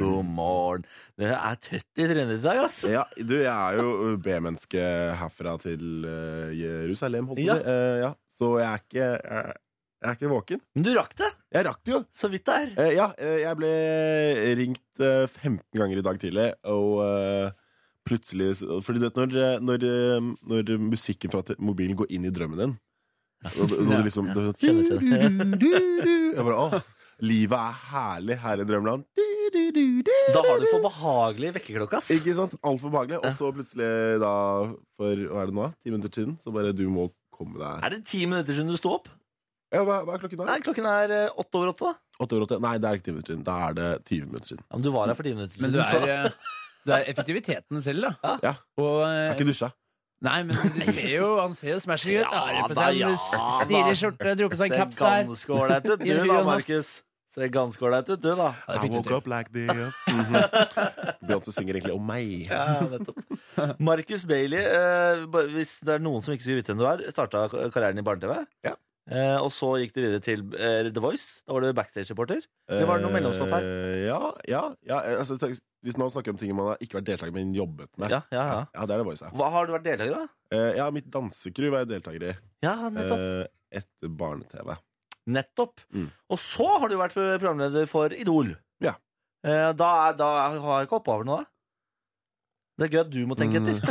[SPEAKER 2] God
[SPEAKER 5] Eh,
[SPEAKER 2] morgen. Dere er trøtt i trynet i dag, ass.
[SPEAKER 5] Ja, du, jeg er jo B-menneske herfra til eh, Jerusalem, holdt jeg
[SPEAKER 2] Ja.
[SPEAKER 5] på å si. Eh, ja. Så jeg er, ikke, jeg, jeg er ikke våken.
[SPEAKER 2] Men du rakk det,
[SPEAKER 5] Jeg rakk det jo!
[SPEAKER 2] så vidt det er.
[SPEAKER 5] Eh, ja, eh, jeg ble ringt eh, 15 ganger i dag tidlig, og eh, plutselig så- Fordi du vet når, eh, når, eh, når musikken fra te- mobilen går inn i drømmen din og, du- når du liksom du,
[SPEAKER 2] Kjenner til det.
[SPEAKER 5] Jeg bare Å, livet er herlig her i drømmeland. Du, du, du, du.
[SPEAKER 2] Da har du for behagelig vekkerklokke, ass.
[SPEAKER 5] Ikke sant? Altfor behagelig. Og så plutselig, da, for hva er det nå? da? Ti minutter siden, så bare du må komme deg
[SPEAKER 2] Er det ti minutter siden du sto opp?
[SPEAKER 5] ja, hva, hva er klokken da?
[SPEAKER 2] Nei, klokken er eh, åtte over åtte. da.
[SPEAKER 5] Åtte over åtte? Nei, det er ikke ti minutter siden. Da er det 20 minutter siden.
[SPEAKER 2] Ja, men du var her for ti minutter
[SPEAKER 4] Men du er,
[SPEAKER 2] så-
[SPEAKER 4] eh, du er effektiviteten selv, da.
[SPEAKER 2] Ah.
[SPEAKER 5] Ja.
[SPEAKER 4] Og,
[SPEAKER 5] Jeg
[SPEAKER 4] eh,
[SPEAKER 5] har ikke dusja.
[SPEAKER 4] nei, men du ser jo, han ser jo smashing ut.
[SPEAKER 2] Ja,
[SPEAKER 4] Har det på
[SPEAKER 2] da,
[SPEAKER 4] seg
[SPEAKER 2] ja,
[SPEAKER 4] en stilig skjorte, dro på seg en caps der.
[SPEAKER 2] Ser ganske ålreit [laughs] ut, du da, Markus. Ser ganske ålreit ut, du da.
[SPEAKER 4] Ja, det
[SPEAKER 5] I
[SPEAKER 4] fikk du
[SPEAKER 5] woke
[SPEAKER 4] til.
[SPEAKER 5] up like this. Mhm. Beyoncé synger egentlig om meg.
[SPEAKER 2] Ah. Ja, nettopp. Markus Bailey, eh, bare hvis det er noen som ikke skulle vite hvem du er, starta karrieren i barne-TV.
[SPEAKER 5] Ja.
[SPEAKER 2] Eh, og så gikk det videre til eh, The Voice. Da var du backstage-reporter. Det var noe
[SPEAKER 5] Eh,
[SPEAKER 2] mellomstopp her.
[SPEAKER 5] Ja, ja, ja. Altså, tenk- hvis man snakker om ting man har ikke vært deltaker men jobbet med.
[SPEAKER 2] Ja, ja, ja.
[SPEAKER 5] ja det er det Voice. Ja.
[SPEAKER 2] Hva har du vært deltaker av?
[SPEAKER 5] Eh, ja, mitt dansecrew var jeg deltaker i
[SPEAKER 2] Ja, nettopp.
[SPEAKER 5] eh, etter barne-TV.
[SPEAKER 2] nettopp.
[SPEAKER 5] Mm.
[SPEAKER 2] Og så har du vært programleder for Idol.
[SPEAKER 5] Ja.
[SPEAKER 2] Eh, da, er- da har jeg ikke oppover nå, da. Det er gøy at du må tenke
[SPEAKER 5] Mm.
[SPEAKER 2] etter.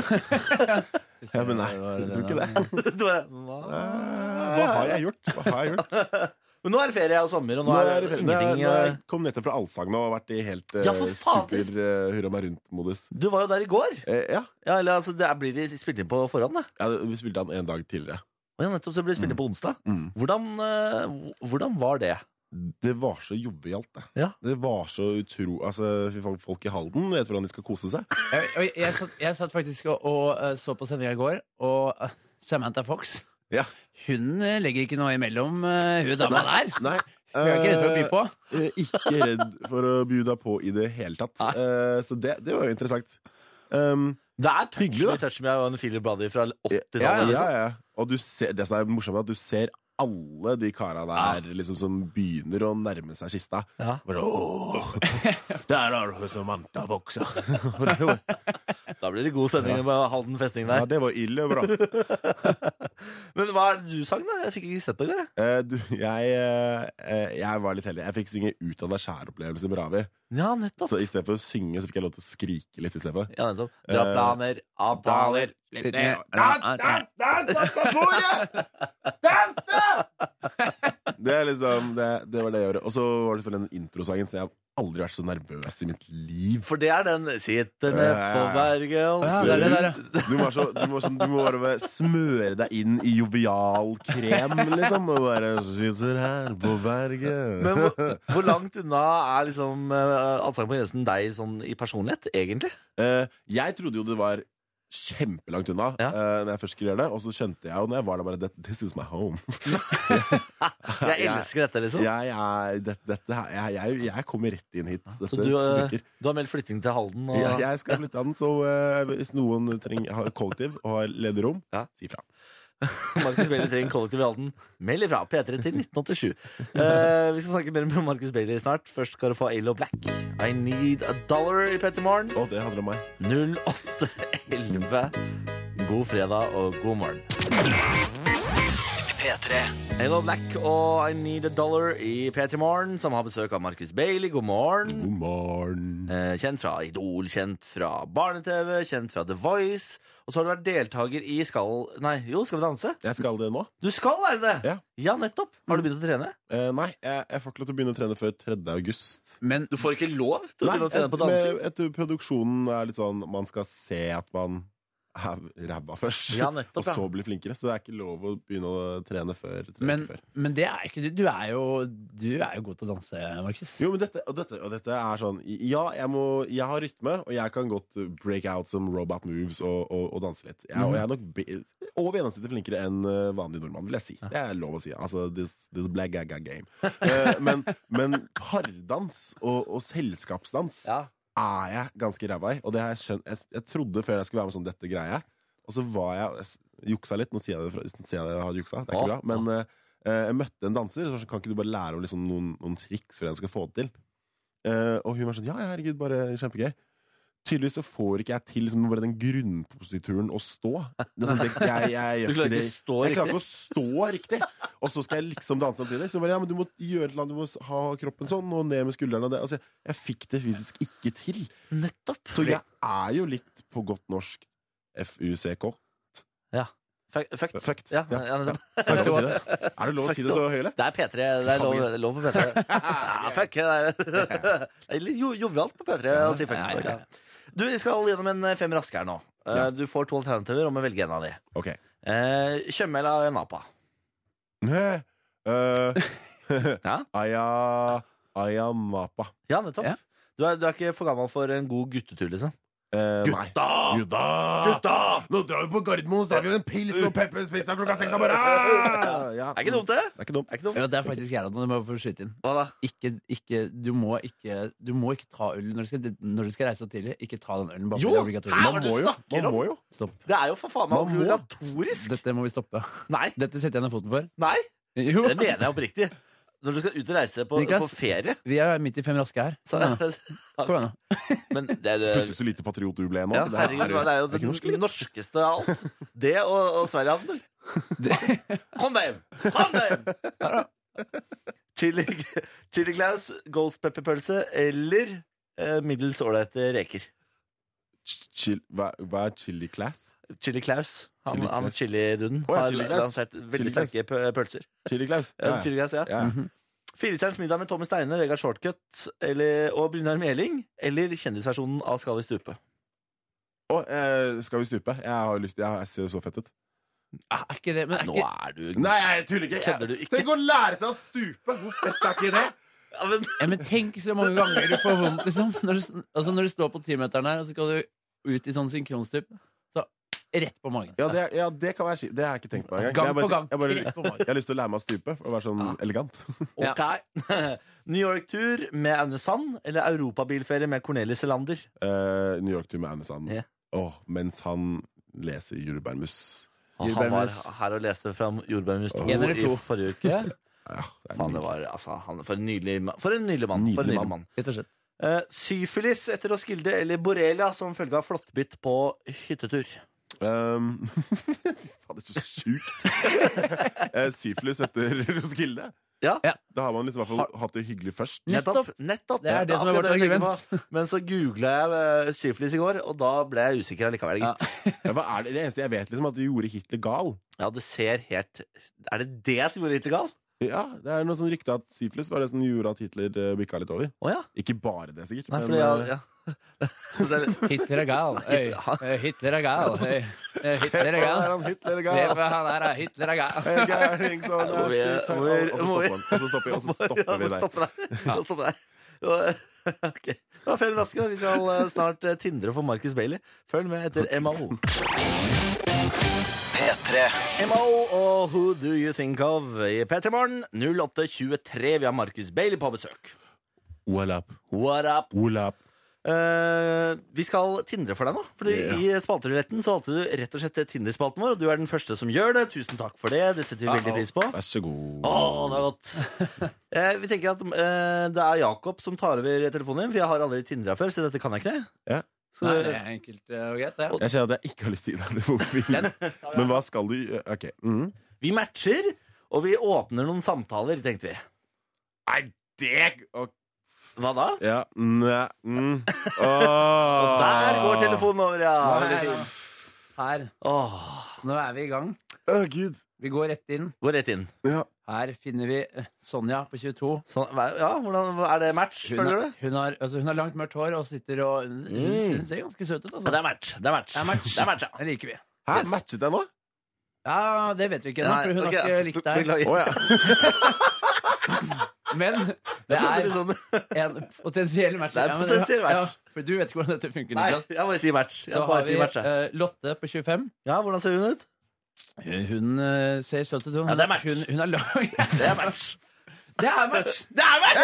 [SPEAKER 5] Ja, men nei,
[SPEAKER 4] var
[SPEAKER 5] jeg tror ikke
[SPEAKER 4] da.
[SPEAKER 5] det.
[SPEAKER 2] [laughs]
[SPEAKER 5] Eh,
[SPEAKER 2] Du bare, hva?
[SPEAKER 5] Hva har jeg gjort? Hva har jeg gjort?
[SPEAKER 2] Men nå er det ferie og sommer, og nå, er det
[SPEAKER 5] ferie.
[SPEAKER 2] ingenting
[SPEAKER 5] Nå er- nå er-
[SPEAKER 2] eh,
[SPEAKER 5] jeg kom nettopp fra allsang nå og har vært i helt eh,
[SPEAKER 2] Ja, for faen.
[SPEAKER 5] super eh, hurra meg rundt-modus.
[SPEAKER 2] Du var jo der i går.
[SPEAKER 5] Eh, ja.
[SPEAKER 2] Ja, eller altså, det er- blir de spilt inn på forhånd, da.
[SPEAKER 5] ja, det- vi spilte han en dag tidligere.
[SPEAKER 2] Og ja, nettopp så blir det spilt inn på onsdag.
[SPEAKER 5] Mm.
[SPEAKER 2] Hvordan, eh, hvor- hvordan var det?
[SPEAKER 5] Det var så jovialt, det.
[SPEAKER 2] Ja.
[SPEAKER 5] Det var så utro... Altså, fy faen, folk i Halden vet hvordan de skal kose seg.
[SPEAKER 4] Jeg, og jeg, satt, jeg satt faktisk og, og eh, så på sendinga i går, og eh, Samantha Fox
[SPEAKER 5] Ja.
[SPEAKER 4] Hun eh, legger ikke noe imellom, eh, hun dama der.
[SPEAKER 2] [laughs]
[SPEAKER 5] Nei.
[SPEAKER 4] Hun er ikke redd for å by på.
[SPEAKER 5] Eh, ikke redd for å by deg på i det hele tatt. Eh, så det, det var jo interessant. Um,
[SPEAKER 2] Det er touch
[SPEAKER 5] Hyggelig, da.
[SPEAKER 2] me, touch me og en Philip Brady fra 80-tallet.
[SPEAKER 5] ja, ja,
[SPEAKER 2] liksom.
[SPEAKER 5] ja. Og du ser, det som er morsomt, er at du ser alle de kara der liksom, som begynner å nærme seg kista.
[SPEAKER 2] Ja.
[SPEAKER 5] [laughs] Bare, «Åh, Der har du Samantha [laughs] Fox, ja. For det var-
[SPEAKER 2] Da blir det god sending på Halden festning der.
[SPEAKER 5] ja, det var ille bra.
[SPEAKER 2] Men hva er det du sang, da? Jeg fikk ikke sett på i går. jeg.
[SPEAKER 5] Eh, du, jeg, eh, eh, jeg var litt heldig. Jeg fikk synge Ut av deg skjær-opplevelse med Ravi.
[SPEAKER 2] Ja, nettopp.
[SPEAKER 5] Så i stedet for å synge, så fikk jeg lov til å skrike litt i stedet for.
[SPEAKER 2] Ja, nettopp. Dra
[SPEAKER 5] Eh,
[SPEAKER 2] planer, avtaler
[SPEAKER 4] Litt mer. Ja, altså, ja, ja.
[SPEAKER 5] [laughs] Det er liksom, det, det var det jeg gjorde. Og så var det selvfølgelig den introsangen, så jeg har aldri vært så nervøs i mitt liv.
[SPEAKER 2] For det er den 'Sitter ned på berget' og
[SPEAKER 4] Ja, det er det
[SPEAKER 2] surrer.
[SPEAKER 4] der, ja.
[SPEAKER 5] Du må, være så, du, må, sånn- du må bare smøre deg inn i jovial krem, liksom. Og bare sitter her på berget.
[SPEAKER 2] Men hvor, hvor langt unna er liksom eh, Allsang på grensen deg sånn i personlighet,
[SPEAKER 5] [laughs]
[SPEAKER 2] egentlig?
[SPEAKER 5] Eh, jeg trodde jo det var kjempelangt unna
[SPEAKER 2] Ja.
[SPEAKER 5] eh, når jeg først skulle gjøre det. Og så skjønte jeg jo når jeg var der bare "That- This is my home.
[SPEAKER 2] Jeg elsker dette, liksom.
[SPEAKER 5] Jeg, er, det, dette, her- jeg, jeg, jeg kommer rett inn hit. Dette
[SPEAKER 2] Så du, eh,
[SPEAKER 5] funker.
[SPEAKER 2] du har meldt flytting til Halden? Og...
[SPEAKER 5] Jeg, jeg skal flytte an, så eh, hvis noen trenger har kollektiv og har ledig rom,
[SPEAKER 2] Ja.
[SPEAKER 5] si fra.
[SPEAKER 2] [laughs] Markus Bailey trenger kollektiv i Halden. Meld ifra. P3 til 1987. Eh, vi skal snakke mer om Markus Bailey snart. Først skal du få Alo Black. I need a dollar i P3 Morgen.
[SPEAKER 5] Og det handler om meg.
[SPEAKER 2] 0811. God fredag og god morgen.
[SPEAKER 1] P3.
[SPEAKER 2] Hello Black og I Need a Dollar i P3 Morgen, som har besøk av Marcus Bailey. God morgen.
[SPEAKER 5] God morgen.
[SPEAKER 2] Eh, Kjent fra Idol, kjent fra barne-TV, kjent fra The Voice. Og så har du vært deltaker i Skal Nei, jo, Skal vi danse?
[SPEAKER 5] Jeg skal det nå.
[SPEAKER 2] Du skal være det!
[SPEAKER 5] Ja.
[SPEAKER 2] nettopp. Har du begynt å trene?
[SPEAKER 5] Eh, nei, jeg, jeg får ikke lov til å begynne å trene før 3. august.
[SPEAKER 4] Men
[SPEAKER 2] Du får ikke lov til å
[SPEAKER 5] Nei,
[SPEAKER 2] begynne å
[SPEAKER 5] jeg,
[SPEAKER 2] trene på dansing.
[SPEAKER 5] men jeg tror produksjonen er litt sånn Man skal se at man er ræva først,
[SPEAKER 2] Ja, nettopp,
[SPEAKER 5] [laughs] og så
[SPEAKER 2] ja.
[SPEAKER 5] bli flinkere. Så det er ikke lov å begynne å trene før. Tre
[SPEAKER 4] Men,
[SPEAKER 5] uker før.
[SPEAKER 4] men det er ikke du. Du er jo, du er jo god til å danse, Markus.
[SPEAKER 5] Jo, men dette, og dette, og dette er sånn Ja, jeg, må, jeg har rytme, og jeg kan godt eh, break out som robot moves og, og, og danse litt. Jeg, og jeg er nok be, over gjennomsnittet flinkere enn eh, vanlig nordmann, vil jeg si. Det er lov å si. Altså, this, this black gag gag game. Eh, men, men pardans og, og selskapsdans
[SPEAKER 2] Ja.
[SPEAKER 5] er jeg ganske ræva i. Og det har jeg skjønt jeg, jeg trodde før jeg skulle være med sånn dette greier jeg. Og så var jeg jeg s- juksa litt. Nå sier jeg det, fra- nå sier jeg det jeg har juksa, det er
[SPEAKER 2] Å,
[SPEAKER 5] ikke bra. Men eh, jeg møtte en danser. Så sa jeg, kan ikke du bare lære om liksom noen, noen triks for en skal få det til? Eh, og hun var sånn ja, ja, herregud, bare kjempegøy. Tydeligvis så får ikke jeg til liksom, bare den grunnposituren å stå. Det er sånn, det, jeg, jeg, jeg,
[SPEAKER 2] [laughs] Du
[SPEAKER 5] gjør
[SPEAKER 2] klarer
[SPEAKER 5] det-
[SPEAKER 2] ikke å stå
[SPEAKER 5] jeg klarer
[SPEAKER 2] riktig.
[SPEAKER 5] ikke å stå riktig. Og så skal jeg liksom danse samtidig. Så hun bare, ja, men du må gjøre et eller annet, du må ha kroppen sånn og ned med skuldrene. Og det. Altså, jeg- jeg fikk det fysisk ikke til.
[SPEAKER 2] Nettopp.
[SPEAKER 5] Så jeg er jo litt på godt norsk F-U-C-K.
[SPEAKER 2] Fuck. fuck.
[SPEAKER 5] Fucked.
[SPEAKER 2] Ja, ja, nettopp.
[SPEAKER 5] Er det lov å si det? Er det lov å si det så høyt?
[SPEAKER 2] Det er P3. Det er lov, lov på [laughs] P3. Ja, fuck. Det er, [laughs] det er litt jo- jovialt på P3 å si fuck.
[SPEAKER 4] Ja, ja, ja.
[SPEAKER 2] Du, vi skal gjennom en eh, fem raske her nå. Eh,
[SPEAKER 5] Ja.
[SPEAKER 2] Du får to alternativer om å velge en av de.
[SPEAKER 5] Ok.
[SPEAKER 2] Eh, Tjøme eller Napa?
[SPEAKER 5] Eh, eh, [laughs]
[SPEAKER 2] Ja.
[SPEAKER 5] Aya Aya Napa.
[SPEAKER 2] Ja, nettopp.
[SPEAKER 4] Ja.
[SPEAKER 2] Du, er, du er ikke for gammel for en god guttetur, liksom?
[SPEAKER 5] Eh, nei. Gutta! Nå drar vi på Gardermoen, så tar vi en pils og Peppers pizza klokka seks om morgenen! Ja.
[SPEAKER 2] [laughs] Er ikke dumt, det?
[SPEAKER 5] Det er ikke dumt.
[SPEAKER 2] Er ikke dumt.
[SPEAKER 4] Ja, det er faktisk jeg nå. Du må jeg få skyte inn.
[SPEAKER 2] Hva da?
[SPEAKER 4] Ikke, ikke, du, må ikke, du må ikke ta øl når du skal, når du skal reise så tidlig. Ikke ta den ølen. Bare fordi
[SPEAKER 2] Jo!
[SPEAKER 4] det er obligatorisk.
[SPEAKER 2] Hæ?
[SPEAKER 5] Man må jo. Man må jo.
[SPEAKER 4] Stopp.
[SPEAKER 2] Det er jo for faen meg
[SPEAKER 5] Man må.
[SPEAKER 2] obligatorisk!
[SPEAKER 4] Dette må vi stoppe.
[SPEAKER 2] Nei,
[SPEAKER 4] Dette setter jeg ned foten for.
[SPEAKER 2] nei,
[SPEAKER 4] Jo.
[SPEAKER 2] det mener jeg oppriktig. Når du skal ut og reise på,
[SPEAKER 4] Niklas.
[SPEAKER 2] på ferie
[SPEAKER 4] Vi er midt i fem raske her.
[SPEAKER 2] så,
[SPEAKER 4] Kom igjen, nå. Kom igjen, nå.
[SPEAKER 2] Men det er
[SPEAKER 5] Plutselig så lite patriot du ble nå.
[SPEAKER 2] ja,
[SPEAKER 5] Det er-
[SPEAKER 2] herregud, det er jo det norsk- norskeste av alt. Det og, og Sverigehandel. Kom deg hjem! Kom deg hjem! [laughs] Chili, chili Claus, Ghost Pepper-pølse eller eh, middels ålreite reker.
[SPEAKER 5] Chill, hva, hva er chili class?
[SPEAKER 2] Chili Claus, han,
[SPEAKER 5] Chili
[SPEAKER 2] han
[SPEAKER 5] Claus.
[SPEAKER 2] chili-duden,
[SPEAKER 5] Å, ja,
[SPEAKER 2] har
[SPEAKER 5] Chili Claus.
[SPEAKER 2] lansert veldig
[SPEAKER 5] Chili Claus.
[SPEAKER 2] sterke pø- pølser.
[SPEAKER 5] Chili class?
[SPEAKER 2] Ja,
[SPEAKER 5] Ja, ja.
[SPEAKER 2] Chili Mhm. Claus, ja.
[SPEAKER 5] ja. ja.
[SPEAKER 4] Mhm.
[SPEAKER 2] Firestjerners middag med Tommy Steine, Vegard Shortcut eller, og Brynjar Meling, eller kjendisversjonen av Skal vi stupe?
[SPEAKER 5] Å, eh, skal vi stupe? Jeg har lyst jeg, jeg ser så fett ut.
[SPEAKER 4] Ah, Er ikke det Men er
[SPEAKER 2] Nå
[SPEAKER 4] ikke
[SPEAKER 2] er du
[SPEAKER 5] Nei, jeg tuller ikke.
[SPEAKER 2] Kødder du
[SPEAKER 5] Jeg-
[SPEAKER 2] ikke?
[SPEAKER 5] Tenk å lære seg å stupe! Hvor fett er ikke
[SPEAKER 2] [laughs]
[SPEAKER 5] det?
[SPEAKER 2] Ja, men,
[SPEAKER 4] Ja, men tenk så mange ganger du får vondt, liksom. Når du, altså, når du står på timeteren her, og så skal du ut i sånn synkronstup, så rett på magen.
[SPEAKER 5] Ja, det, ja, det kan være skitt. Det har jeg ikke tenkt på engang.
[SPEAKER 4] Gang
[SPEAKER 5] Jeg bare-
[SPEAKER 4] på gang.
[SPEAKER 5] Jeg, bare,
[SPEAKER 4] Rett på magen.
[SPEAKER 5] jeg har lyst til å lære meg å stupe og være sånn elegant. [laughs]
[SPEAKER 4] Ja.
[SPEAKER 2] ok. [laughs] New York-tur med Aune Sand eller europabilferie med Cornelis Elander?
[SPEAKER 5] Eh, New York-tur med Aune Sand.
[SPEAKER 2] Ja.
[SPEAKER 5] Åh, mens han leser Jordbærmus.
[SPEAKER 2] Han var
[SPEAKER 4] Jordbærmus.
[SPEAKER 2] her og leste fram Jordbærmus 2
[SPEAKER 5] En
[SPEAKER 4] eller
[SPEAKER 2] i
[SPEAKER 4] to?
[SPEAKER 2] forrige uke.
[SPEAKER 5] Ja, det er
[SPEAKER 2] Faen, det
[SPEAKER 5] nydelig.
[SPEAKER 2] var, altså, han, for en nydelig mann. For en nydelig mann. for en
[SPEAKER 5] Nydelig
[SPEAKER 2] nydelig
[SPEAKER 5] mann.
[SPEAKER 2] mann.
[SPEAKER 4] Rett og slett.
[SPEAKER 2] Eh, syfilis etter Roskilde eller borrelia som følge av flåttbitt på hyttetur?
[SPEAKER 5] [laughs] Um, Faen, det er så
[SPEAKER 2] [laughs]
[SPEAKER 5] sjukt! Eh, Syfilis etter Roskilde.
[SPEAKER 2] Ja.
[SPEAKER 4] Ja.
[SPEAKER 5] Da har man liksom i hvert fall hatt det hyggelig først.
[SPEAKER 2] Nettopp. nettopp.
[SPEAKER 4] Det er det som er
[SPEAKER 2] akkurat
[SPEAKER 4] vårt
[SPEAKER 2] jeg tenker på. Men så googla jeg eh, syfilis i går, og da ble jeg usikker allikevel.
[SPEAKER 4] Ja.
[SPEAKER 2] gitt.
[SPEAKER 5] Ja, hva er det, det eneste jeg vet, liksom, at det gjorde Hitler gal.
[SPEAKER 2] Ja, det ser helt Er det det som gjorde Hitler gal?
[SPEAKER 5] Ja, Det er noe sånn rykte at syfilis var det som gjorde at Hitler eh, bikka litt over.
[SPEAKER 2] Å ja.
[SPEAKER 5] Ikke bare det, sikkert.
[SPEAKER 2] Nei,
[SPEAKER 5] men,
[SPEAKER 2] fordi
[SPEAKER 5] eh,
[SPEAKER 2] jeg, ja. [laughs] Det er litt-
[SPEAKER 4] Hitler er gal. Øy. Eh, Hitler er gal. Øy. Eh, Hitler er
[SPEAKER 5] Å, der
[SPEAKER 4] gal.
[SPEAKER 5] er han, Hitler er
[SPEAKER 4] Se
[SPEAKER 5] gal.
[SPEAKER 4] på han her, da. Hitler er gal.
[SPEAKER 5] En gærning som
[SPEAKER 2] Må vi-
[SPEAKER 5] er stilt
[SPEAKER 2] må vi-
[SPEAKER 5] her. Og så
[SPEAKER 2] [laughs] må vi-
[SPEAKER 5] stopper han, og så stopper, og så stopper vi
[SPEAKER 2] Ja,
[SPEAKER 5] der.
[SPEAKER 2] stopper der. Ja, [laughs] stopper der. Ja, ok. Det var fem raske. da. Vi skal eh, snart eh, tindre for Marcus Bailey. Følg med etter MAO.
[SPEAKER 1] P3.
[SPEAKER 2] MAO og Who Do You Think Of i P3 Morgen 08.23. Vi har Marcus Bailey på besøk.
[SPEAKER 5] What up?
[SPEAKER 2] What up?
[SPEAKER 5] What up?
[SPEAKER 2] Eh, vi skal tindre for deg nå. Fordi I spalteruletten så valgte du rett og slett Tinder-spalten vår, og du er den første som gjør det. Tusen takk for det. Det setter vi veldig pris på.
[SPEAKER 5] Vær så god.
[SPEAKER 2] Å, det er godt.
[SPEAKER 4] [laughs]
[SPEAKER 2] Eh, vi tenker at eh, det er Jakob som tar over telefonen din, for jeg har aldri tindra før, så dette kan jeg ikke.
[SPEAKER 5] Ja.
[SPEAKER 2] Så,
[SPEAKER 4] Nei, det er enkelt eh, og greit, det.
[SPEAKER 5] Jeg kjenner at jeg ikke har lyst til å gi deg det på mobilen. Men hva skal du gjøre? Ok. Mm.
[SPEAKER 2] vi matcher, Og vi åpner noen samtaler, tenkte vi.
[SPEAKER 5] Nei, det og,
[SPEAKER 2] Hva da?
[SPEAKER 5] Ja. Næ, mm.
[SPEAKER 2] [laughs] Og der går telefonen over, ja. Veldig
[SPEAKER 4] Nei,
[SPEAKER 2] fint.
[SPEAKER 4] Her.
[SPEAKER 2] Åh,
[SPEAKER 4] Nå er vi i gang.
[SPEAKER 5] Å, gud.
[SPEAKER 4] Vi går rett inn.
[SPEAKER 2] går rett inn.
[SPEAKER 5] Ja.
[SPEAKER 4] Her finner vi eh, Sonja på 22.
[SPEAKER 2] Sånn, hva- ja, hvordan, hva- er det match,
[SPEAKER 4] Hun
[SPEAKER 2] føler
[SPEAKER 4] har,
[SPEAKER 2] du?
[SPEAKER 4] hun, har, altså, hun har langt, mørkt hår og sitter og Hun, hun
[SPEAKER 2] Mm.
[SPEAKER 4] hun ser ganske søt ut,
[SPEAKER 2] Ja, det
[SPEAKER 4] altså.
[SPEAKER 2] er match. Det er match.
[SPEAKER 4] Det er match.
[SPEAKER 2] Det er match, ja.
[SPEAKER 4] Den liker vi.
[SPEAKER 5] Hæ,
[SPEAKER 2] Yes.
[SPEAKER 5] matchet jeg nå?
[SPEAKER 4] Ja, det vet vi ikke ennå,
[SPEAKER 2] Nei,
[SPEAKER 4] for hun
[SPEAKER 2] ok,
[SPEAKER 4] har ikke likt deg.
[SPEAKER 2] Beklager.
[SPEAKER 5] Å [laughs] ja.
[SPEAKER 4] Men det
[SPEAKER 2] Det er
[SPEAKER 4] er
[SPEAKER 2] litt sånn
[SPEAKER 4] [laughs] en potensiell match.
[SPEAKER 2] Det er en
[SPEAKER 4] Ja, men-
[SPEAKER 2] potensiell match.
[SPEAKER 4] Ja, for du vet ikke hvordan dette funker.
[SPEAKER 2] Nei,
[SPEAKER 4] Niklas.
[SPEAKER 2] jeg bare sier match. Jeg
[SPEAKER 4] Så
[SPEAKER 2] bare
[SPEAKER 4] har vi
[SPEAKER 2] sier match, jeg.
[SPEAKER 4] eh, Lotte på 25.
[SPEAKER 2] Ja, hvordan ser
[SPEAKER 4] [laughs]
[SPEAKER 2] hun ut?
[SPEAKER 4] Hun eh, ser søt ut. Hun,
[SPEAKER 2] Ja, det er match.
[SPEAKER 4] Hun, hun er lang. [laughs]
[SPEAKER 2] Det er
[SPEAKER 4] det er
[SPEAKER 2] match.
[SPEAKER 4] match!
[SPEAKER 2] Det er match!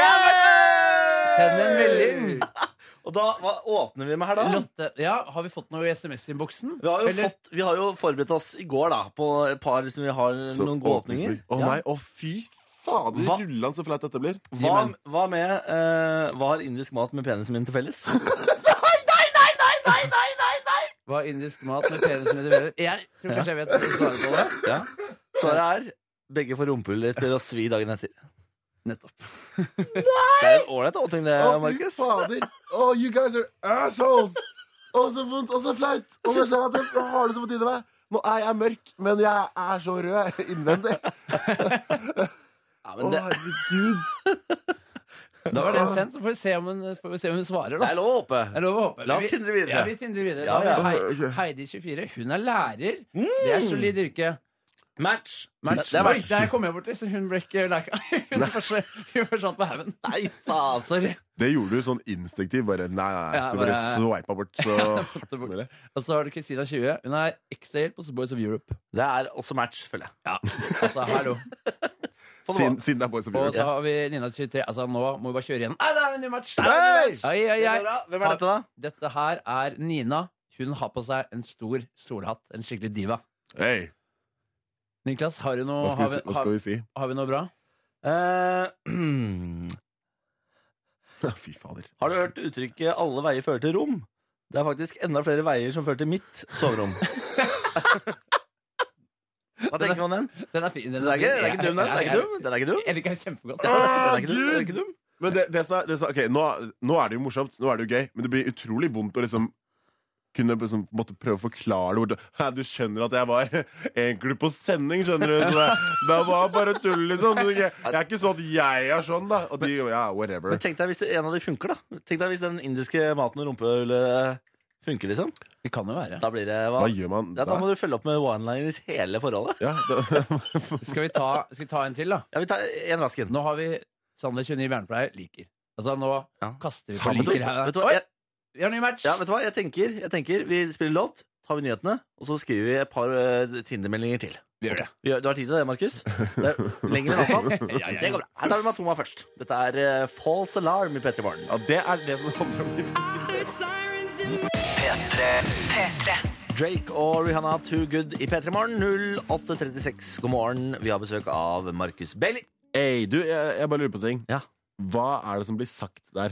[SPEAKER 4] Send en melding.
[SPEAKER 2] Og da, hva åpner vi med her, da?
[SPEAKER 4] Lotte, ja, Har vi fått noe i SMS-innboksen?
[SPEAKER 2] Vi har, jo
[SPEAKER 4] Eller-
[SPEAKER 2] fått, vi har jo forberedt oss i går da på et par som vi har
[SPEAKER 5] Så
[SPEAKER 2] noen gode åpninger.
[SPEAKER 5] Å nei, å fy fader,
[SPEAKER 2] Hva?
[SPEAKER 5] rullan så flaut dette blir.
[SPEAKER 2] Hva, hva med eh, Hva har indisk mat med penisen min til felles? [laughs]
[SPEAKER 4] Hva er indisk mat med penis som leverer? Jeg tror kanskje jeg vet hva du svarer på det.
[SPEAKER 2] Ja. Svaret er begge får rumpehull til å svi dagen etter.
[SPEAKER 4] Nettopp.
[SPEAKER 2] Det er en ålreit åpning, det,
[SPEAKER 5] Å, fy
[SPEAKER 2] Markus.
[SPEAKER 5] [laughs] fader. Oh, you guys are assholes! Å, så vondt og så flaut. Og så skjønner jeg at jeg har det så på tide med. Nå er jeg mørk, men jeg er så rød innvendig. [laughs]
[SPEAKER 2] Ja,
[SPEAKER 5] Å,
[SPEAKER 2] men det,
[SPEAKER 5] herregud.
[SPEAKER 4] Da var den sendt, så får vi se om hun, får vi se om hun svarer,
[SPEAKER 2] det
[SPEAKER 4] da.
[SPEAKER 2] er lov å håpe.
[SPEAKER 4] Det er lov å håpe.
[SPEAKER 2] La oss
[SPEAKER 4] Vi-
[SPEAKER 2] tindre videre.
[SPEAKER 4] Ja, vi tindrer videre.
[SPEAKER 2] Ja,
[SPEAKER 4] Da har vi
[SPEAKER 5] ja.
[SPEAKER 4] Hei- Heidi24. Hun er lærer. Det er solid yrke.
[SPEAKER 2] Match.
[SPEAKER 4] Match.
[SPEAKER 2] Det er
[SPEAKER 4] Oi,
[SPEAKER 2] match.
[SPEAKER 4] der kom jeg borti, så hun ble ikke leka. [laughs] Hun forsvant hun forsvant på
[SPEAKER 2] [laughs]
[SPEAKER 4] haugen.
[SPEAKER 2] Nei, faen.
[SPEAKER 4] Sorry.
[SPEAKER 5] Det gjorde du sånn instinktivt. Bare nei, nei, nei.
[SPEAKER 4] Ja,
[SPEAKER 5] Du bare
[SPEAKER 4] bare-
[SPEAKER 5] sveipa bort [laughs] så hardt som mulig.
[SPEAKER 4] Og så har du Christina 20. Hun er exhale på Boys of Europe.
[SPEAKER 2] Det er også match, føler jeg.
[SPEAKER 4] Altså,
[SPEAKER 2] [laughs]
[SPEAKER 4] hallo.
[SPEAKER 5] Siden, siden det er boys of
[SPEAKER 4] Og så
[SPEAKER 5] Europe.
[SPEAKER 4] har vi Nina 23. Altså, nå må vi bare kjøre igjen. Nei, det er en ny match!
[SPEAKER 5] Hei!
[SPEAKER 4] Ai, ai, ai.
[SPEAKER 2] Hvem er dette, da?
[SPEAKER 4] Dette her er Nina. Hun har på seg en stor solhatt. En skikkelig diva.
[SPEAKER 5] Hey,
[SPEAKER 4] Niklas, har, du
[SPEAKER 5] hva
[SPEAKER 4] noe,
[SPEAKER 5] skal
[SPEAKER 4] har, vi,
[SPEAKER 5] vi si? Hva
[SPEAKER 4] har,
[SPEAKER 5] skal vi si? [laughs]
[SPEAKER 4] har vi noe bra?
[SPEAKER 2] Eh, [clears throat] har
[SPEAKER 5] Fy fader.
[SPEAKER 2] du hørt uttrykket 'alle veier fører til rom'? Det er faktisk enda flere veier som fører til mitt [laughs] soverom. Hva tenker du om den?
[SPEAKER 4] Den er fin. Den
[SPEAKER 2] Den er ikke, den er ikke dum, den. Den er ikke dum. Den er ikke dum.
[SPEAKER 4] Jeg liker den kjempegodt.
[SPEAKER 2] Den er ikke dum. Den er ikke dum.
[SPEAKER 5] Men det, det som er, det som er ok, nå, nå er det jo morsomt, nå er det jo gøy, men det blir utrolig vondt å liksom kunne liksom, måtte prøve å forklare det bort. Hæ, Du skjønner at jeg var [laughs] egentlig på sending, skjønner du. Så det, det var bare tull, liksom. Du, jeg, jeg er ikke sånn at jeg er sånn, da. Og de, ja, whatever.
[SPEAKER 2] Men tenk deg hvis det, en av de funker, da. Tenk deg hvis den indiske maten og rumpehullet funker, liksom.
[SPEAKER 4] Det kan jo være.
[SPEAKER 2] Da blir det hva?
[SPEAKER 5] Hva gjør man
[SPEAKER 2] Ja, da
[SPEAKER 5] da?
[SPEAKER 2] må du følge opp med one-liners hele forholdet.
[SPEAKER 5] Ja, da [laughs]
[SPEAKER 4] Skal vi ta, skal vi ta en til, da?
[SPEAKER 2] Ja, Vi tar en rask en.
[SPEAKER 4] Nå har vi Sander 29 vernepleier liker. Altså, nå
[SPEAKER 2] Ja.
[SPEAKER 4] kaster vi på
[SPEAKER 5] Sander,
[SPEAKER 2] Vet du,
[SPEAKER 4] liker her.
[SPEAKER 2] vet du hva?
[SPEAKER 4] Oi,
[SPEAKER 2] Jeg,
[SPEAKER 4] vi har ny match!
[SPEAKER 2] Ja, vet du hva? Jeg tenker, jeg tenker Vi spiller låt, tar vi nyhetene, og så skriver vi et par eh, Tinder-meldinger til.
[SPEAKER 4] vi gjør det.
[SPEAKER 2] Vi gjør- Du har tid til det, Markus? Det er Lenger enn avtalt?
[SPEAKER 4] [laughs] Ja, ja, ja.
[SPEAKER 2] Det går bra. Her tar vi Matoma først. Dette er eh, False Alarm i Petter Barn.
[SPEAKER 5] ja, det er det som det handler om.
[SPEAKER 2] Drake og Rihanna Too Good i P3 Morgen 0836. God morgen. Vi har besøk av Markus Bailey.
[SPEAKER 5] Hey, du, jeg, jeg bare lurer på en ting.
[SPEAKER 2] Ja.
[SPEAKER 5] Hva er det som blir sagt der?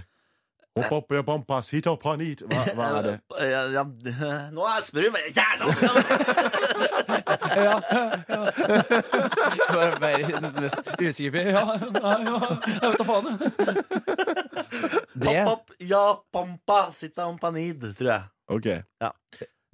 [SPEAKER 5] Hopp opp i pampa, sit opp han hit. Hva, hva er det?
[SPEAKER 2] Eh, Ja, ja, [laughs] nå er Sprud
[SPEAKER 4] [laughs]
[SPEAKER 2] Jævla!
[SPEAKER 4] Bare, bare den mest usikker Ja, ja, ja, jeg vet da faen, jeg. Det
[SPEAKER 2] Papp, ja, pampa, sitta om panid, tror jeg.
[SPEAKER 5] Ok.
[SPEAKER 2] Ja.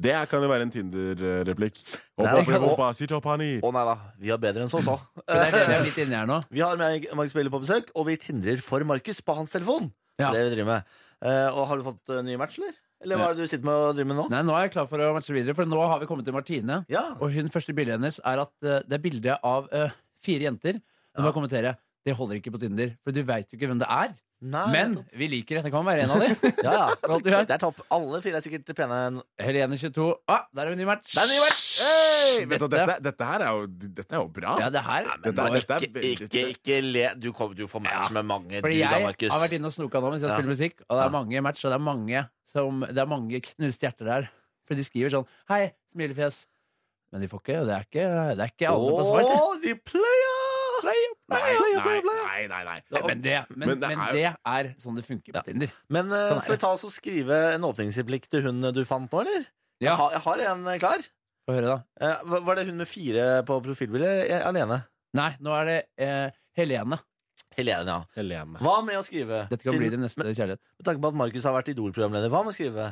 [SPEAKER 5] Det er- kan jo være en Tinder-replikk. Hopp
[SPEAKER 2] Nei,
[SPEAKER 5] opp i
[SPEAKER 2] og-
[SPEAKER 5] pampa, sit opp han hit.
[SPEAKER 2] Å nei da, vi har bedre enn som så.
[SPEAKER 4] Men [laughs] det er det vi er litt inni her nå.
[SPEAKER 2] [laughs] Vi har med Markus Bailey på besøk, og vi tindrer for Markus på hans telefon.
[SPEAKER 4] Ja.
[SPEAKER 2] Det er det vi driver med. Eh, og har du fått eh, nye match, eller? Eller hva
[SPEAKER 4] Ja.
[SPEAKER 2] er det du sitter med og driver med nå?
[SPEAKER 4] Nei, nå er jeg klar for å matche videre, for nå har vi kommet til Martine.
[SPEAKER 2] Ja.
[SPEAKER 4] Og hun første bildet hennes er at eh, det er bilde av eh, fire jenter. Hun bare kommenterer det holder ikke på Tinder, for du veit jo ikke hvem det er.
[SPEAKER 2] Nei,
[SPEAKER 4] Men
[SPEAKER 2] nettopp.
[SPEAKER 4] vi liker det. Det kan være en av dem.
[SPEAKER 2] ja, [laughs] ja.
[SPEAKER 4] For alt vi vet.
[SPEAKER 2] Det er topp. Alle fire er sikkert pene. nå.
[SPEAKER 4] Helene 22. Ah, der er vi ny match.
[SPEAKER 2] Det er en ny match!
[SPEAKER 5] Hey, vet du,
[SPEAKER 4] Dette-
[SPEAKER 5] dette, dette her er jo, dette er jo bra.
[SPEAKER 4] Ja, det her
[SPEAKER 5] dette, er- dette er
[SPEAKER 2] Ikke,
[SPEAKER 5] veldig
[SPEAKER 2] ikke, ikke le. Du kommer til å få match med mange, du
[SPEAKER 4] Fordi
[SPEAKER 2] da,
[SPEAKER 4] jeg
[SPEAKER 2] Markus.
[SPEAKER 4] har vært inne og snoka nå mens jeg
[SPEAKER 2] Ja.
[SPEAKER 4] spiller musikk, og det
[SPEAKER 2] Ja.
[SPEAKER 4] er mange match, og det er mange, som, det er mange knuste hjerter der. For de skriver sånn Hei, smilefjes. Men de får ikke Det er ikke, det er ikke alle som får svar, sier
[SPEAKER 2] Å, de player!
[SPEAKER 5] Nei,
[SPEAKER 2] player,
[SPEAKER 5] nei,
[SPEAKER 2] player, player.
[SPEAKER 5] nei, nei, nei.
[SPEAKER 4] Ja, Men det, men,
[SPEAKER 5] Men
[SPEAKER 4] men,
[SPEAKER 5] det
[SPEAKER 4] det,
[SPEAKER 5] er-
[SPEAKER 4] er... sånn det funker på Tinder.
[SPEAKER 2] Men eh,
[SPEAKER 4] Sånn er det.
[SPEAKER 2] skal vi ta oss og skrive en åpningsreplikk til hun du fant nå, eller?
[SPEAKER 4] Ja.
[SPEAKER 2] Jeg, har, jeg har en eh, klar.
[SPEAKER 4] Få høre, da.
[SPEAKER 2] Eh, hva- var det hun med fire på profilbildet? Jeg- Alene.
[SPEAKER 4] Nei, nå er det eh, Helene.
[SPEAKER 2] Helene, ja.
[SPEAKER 5] Helene.
[SPEAKER 2] Hva med å skrive?
[SPEAKER 4] Dette kan
[SPEAKER 2] Siden-
[SPEAKER 4] bli din neste kjærlighet.
[SPEAKER 2] Med tanke på at Markus har vært Idol-programleder, hva med å skrive?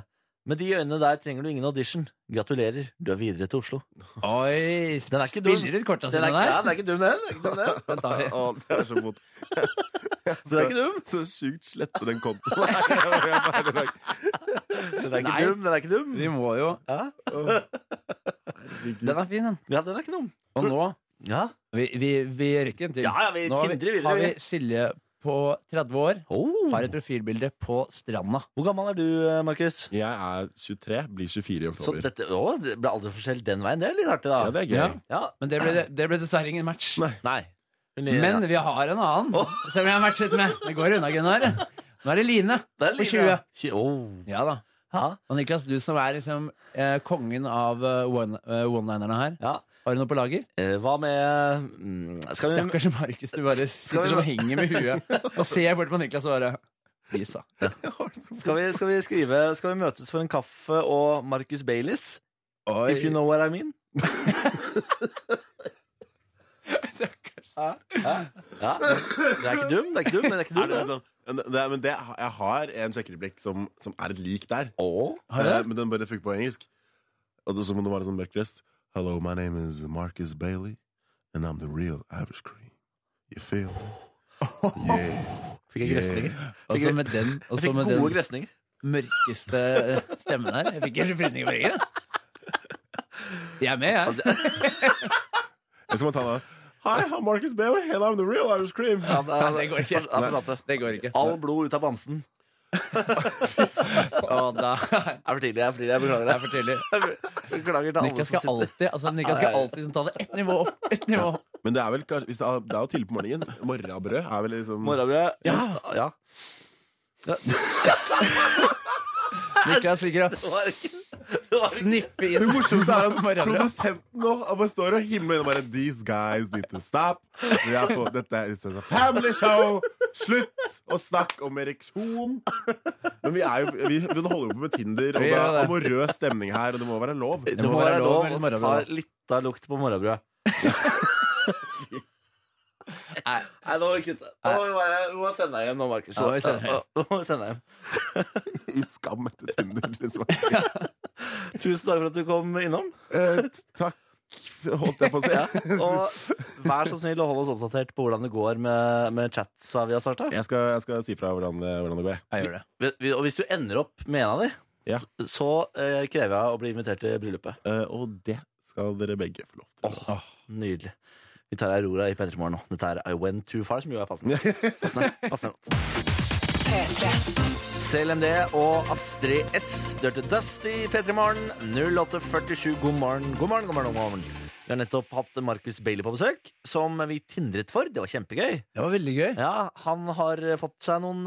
[SPEAKER 2] Med de øynene der trenger du ingen audition. Gratulerer, du er videre til Oslo.
[SPEAKER 4] Oi,
[SPEAKER 2] Den er ikke dum.
[SPEAKER 4] spiller ut korta
[SPEAKER 2] Den
[SPEAKER 4] sine
[SPEAKER 2] er, ikke- ja,
[SPEAKER 4] der.
[SPEAKER 2] den er ikke dum, den. Den er ikke dum, den.
[SPEAKER 4] Den tar vi.
[SPEAKER 5] Å, det er så vondt.
[SPEAKER 2] [laughs] Så den er ikke dum.
[SPEAKER 5] Så sjukt slette den kontoen. Jeg bare-
[SPEAKER 2] Den er
[SPEAKER 4] Nei.
[SPEAKER 2] ikke dum. Den er ikke dum.
[SPEAKER 4] Vi må jo
[SPEAKER 5] Å,
[SPEAKER 4] Den er fin, den.
[SPEAKER 2] Ja, den er ikke dum.
[SPEAKER 4] Og nå
[SPEAKER 2] Ja,
[SPEAKER 4] Vi, vi, vi rekker en til.
[SPEAKER 2] ja, ja vi
[SPEAKER 4] nå har
[SPEAKER 2] tindrer
[SPEAKER 4] vi,
[SPEAKER 2] videre.
[SPEAKER 4] har vi
[SPEAKER 2] vi.
[SPEAKER 4] Silje på 30 år.
[SPEAKER 2] Oh.
[SPEAKER 4] Har et profilbilde på stranda.
[SPEAKER 2] Hvor gammel er du, Markus?
[SPEAKER 5] Jeg er 23, blir 24 i
[SPEAKER 2] Så
[SPEAKER 5] oktober.
[SPEAKER 2] dette å, det ble aldersforskjell den veien. Det er litt artig, da.
[SPEAKER 5] Ja, det er gøy.
[SPEAKER 4] Ja.
[SPEAKER 2] Ja.
[SPEAKER 4] Men det ble, det ble dessverre ingen match.
[SPEAKER 2] Nei. Hun-
[SPEAKER 4] Men vi har en annen
[SPEAKER 2] Åh.
[SPEAKER 4] som vi har matchet med. Det går unna, Gunnar. Nå er det Line
[SPEAKER 2] Det er
[SPEAKER 4] på
[SPEAKER 2] litt-
[SPEAKER 4] 20.
[SPEAKER 2] Tjue- Oh. Åh.
[SPEAKER 4] Ja da.
[SPEAKER 2] Ja.
[SPEAKER 4] Og Niklas, du som er liksom eh, kongen av eh, one- eh, one-linerne her.
[SPEAKER 2] ja.
[SPEAKER 4] Har du noe på lager?
[SPEAKER 2] Eh, Hva med mm, Skal vi
[SPEAKER 4] Stakkars Markus, du bare
[SPEAKER 2] Skal vi-
[SPEAKER 4] sitter sånn og henger med
[SPEAKER 2] [laughs]
[SPEAKER 4] huet og ser bort på Niklas og bare Lisa.
[SPEAKER 2] Skal vi, skal vi skrive Skal vi møtes for en kaffe og Marcus Baileys?
[SPEAKER 4] Oi.
[SPEAKER 2] If you know what I mean?
[SPEAKER 4] Stakkars.
[SPEAKER 2] Ja. Det er ikke dum, det er ikke dum, men det er ikke
[SPEAKER 5] Er
[SPEAKER 2] dum.
[SPEAKER 5] [laughs] det
[SPEAKER 2] det.
[SPEAKER 5] sånn? Men det- det er- Men det, jeg har en sjekkereplikk som, som er et lik der.
[SPEAKER 2] Åh.
[SPEAKER 4] Har du det?
[SPEAKER 5] Eh, Men den bare funker på engelsk. Og det, så må det være sånn mørk rest. Hello, my name is Marcus Bailey, and I'm the real Irish cream. You feel me?
[SPEAKER 4] [laughs]
[SPEAKER 5] Yeah.
[SPEAKER 2] Fikk jeg
[SPEAKER 5] Yeah.
[SPEAKER 2] grøsninger?
[SPEAKER 4] Og så med den, og
[SPEAKER 2] Jeg
[SPEAKER 4] så
[SPEAKER 2] fikk
[SPEAKER 4] med den
[SPEAKER 2] gode grøsninger.
[SPEAKER 4] mørkeste stemmen her. Jeg fikk helt frysninger på ryggen. Jeg er med, jeg.
[SPEAKER 2] [laughs]
[SPEAKER 5] Jeg skal bare ta den av. Hi, I'm Marcus Bailey, and I'm the real Irish cream.
[SPEAKER 2] Ja, det,
[SPEAKER 4] Nei, det går ikke.
[SPEAKER 2] Ja, forstått det.
[SPEAKER 4] Det går ikke.
[SPEAKER 2] All blod ut av bamsen.
[SPEAKER 4] Å, da.
[SPEAKER 2] Det er for tidlig. Jeg, er for tidlig, jeg beklager
[SPEAKER 4] Det er
[SPEAKER 2] det.
[SPEAKER 4] for tidlig.
[SPEAKER 2] Beklager til alle
[SPEAKER 4] Niklas
[SPEAKER 2] som
[SPEAKER 4] skal
[SPEAKER 2] sitter
[SPEAKER 4] alltid, altså, Niklas skal alltid liksom ta det ett nivå opp. Ett nivå opp.
[SPEAKER 5] Men det er vel kanskje- hvis det er, det er jo tidlig på morgenen. Morrabrød er vel liksom
[SPEAKER 2] Morgenbrød.
[SPEAKER 4] Ja.
[SPEAKER 2] ja.
[SPEAKER 4] Niklas ligger og
[SPEAKER 2] Det var ikke det var ikke-
[SPEAKER 4] sniffer inn
[SPEAKER 5] Det morsomste er at
[SPEAKER 4] morgenbrød.
[SPEAKER 5] produsenten nå han bare står og himler og bare These guys need to stop. Vi er på, dette er it's a family show. Slutt å snakke om ereksjon. Men vi, er jo, vi, vi holder jo på med Tinder,
[SPEAKER 4] Vi
[SPEAKER 5] og det
[SPEAKER 4] gjør
[SPEAKER 5] er
[SPEAKER 4] det.
[SPEAKER 5] amorøs stemning her, og det må være lov.
[SPEAKER 2] Det må være lov
[SPEAKER 4] med litt
[SPEAKER 2] å ta
[SPEAKER 4] morgenbrød,
[SPEAKER 2] litt av lukt på morgenbrød.
[SPEAKER 4] Nei.
[SPEAKER 2] Nei, nå må vi kutte. Nå må vi bare- vi må sende deg hjem nå, Markus.
[SPEAKER 4] Ja, vi sender deg hjem.
[SPEAKER 2] Nå må vi sende deg hjem.
[SPEAKER 5] I skam etter Tinder, liksom.
[SPEAKER 2] Tusen takk for at du kom innom.
[SPEAKER 5] Eh, takk, holdt jeg på å si.
[SPEAKER 2] Ja. Og vær så snill å holde oss oppdatert på hvordan det går med, med chatsa vi har starta.
[SPEAKER 5] Jeg skal, jeg skal si fra hvordan, det- hvordan det går. jeg.
[SPEAKER 4] Jeg gjør det.
[SPEAKER 2] Og hvis du ender opp med en av de,
[SPEAKER 5] Ja.
[SPEAKER 2] så eh, krever jeg å bli invitert til bryllupet.
[SPEAKER 5] Eh, og det skal dere begge få lov til.
[SPEAKER 2] Åh, nydelig. Vi tar Aurora i P3 Morgen nå. Dette er I Went Too Far, som jo er passende.
[SPEAKER 5] [laughs]
[SPEAKER 2] Passende, passende låt. CLMD og Astrid S. Dirty Dust i P3 Morgen. 0847. God morgen, god morgen, god morgen. god morgen. Vi har nettopp hatt Markus Bailey på besøk, som vi tindret for. Det var kjempegøy.
[SPEAKER 4] Det var veldig gøy.
[SPEAKER 2] Ja, Han har fått seg noen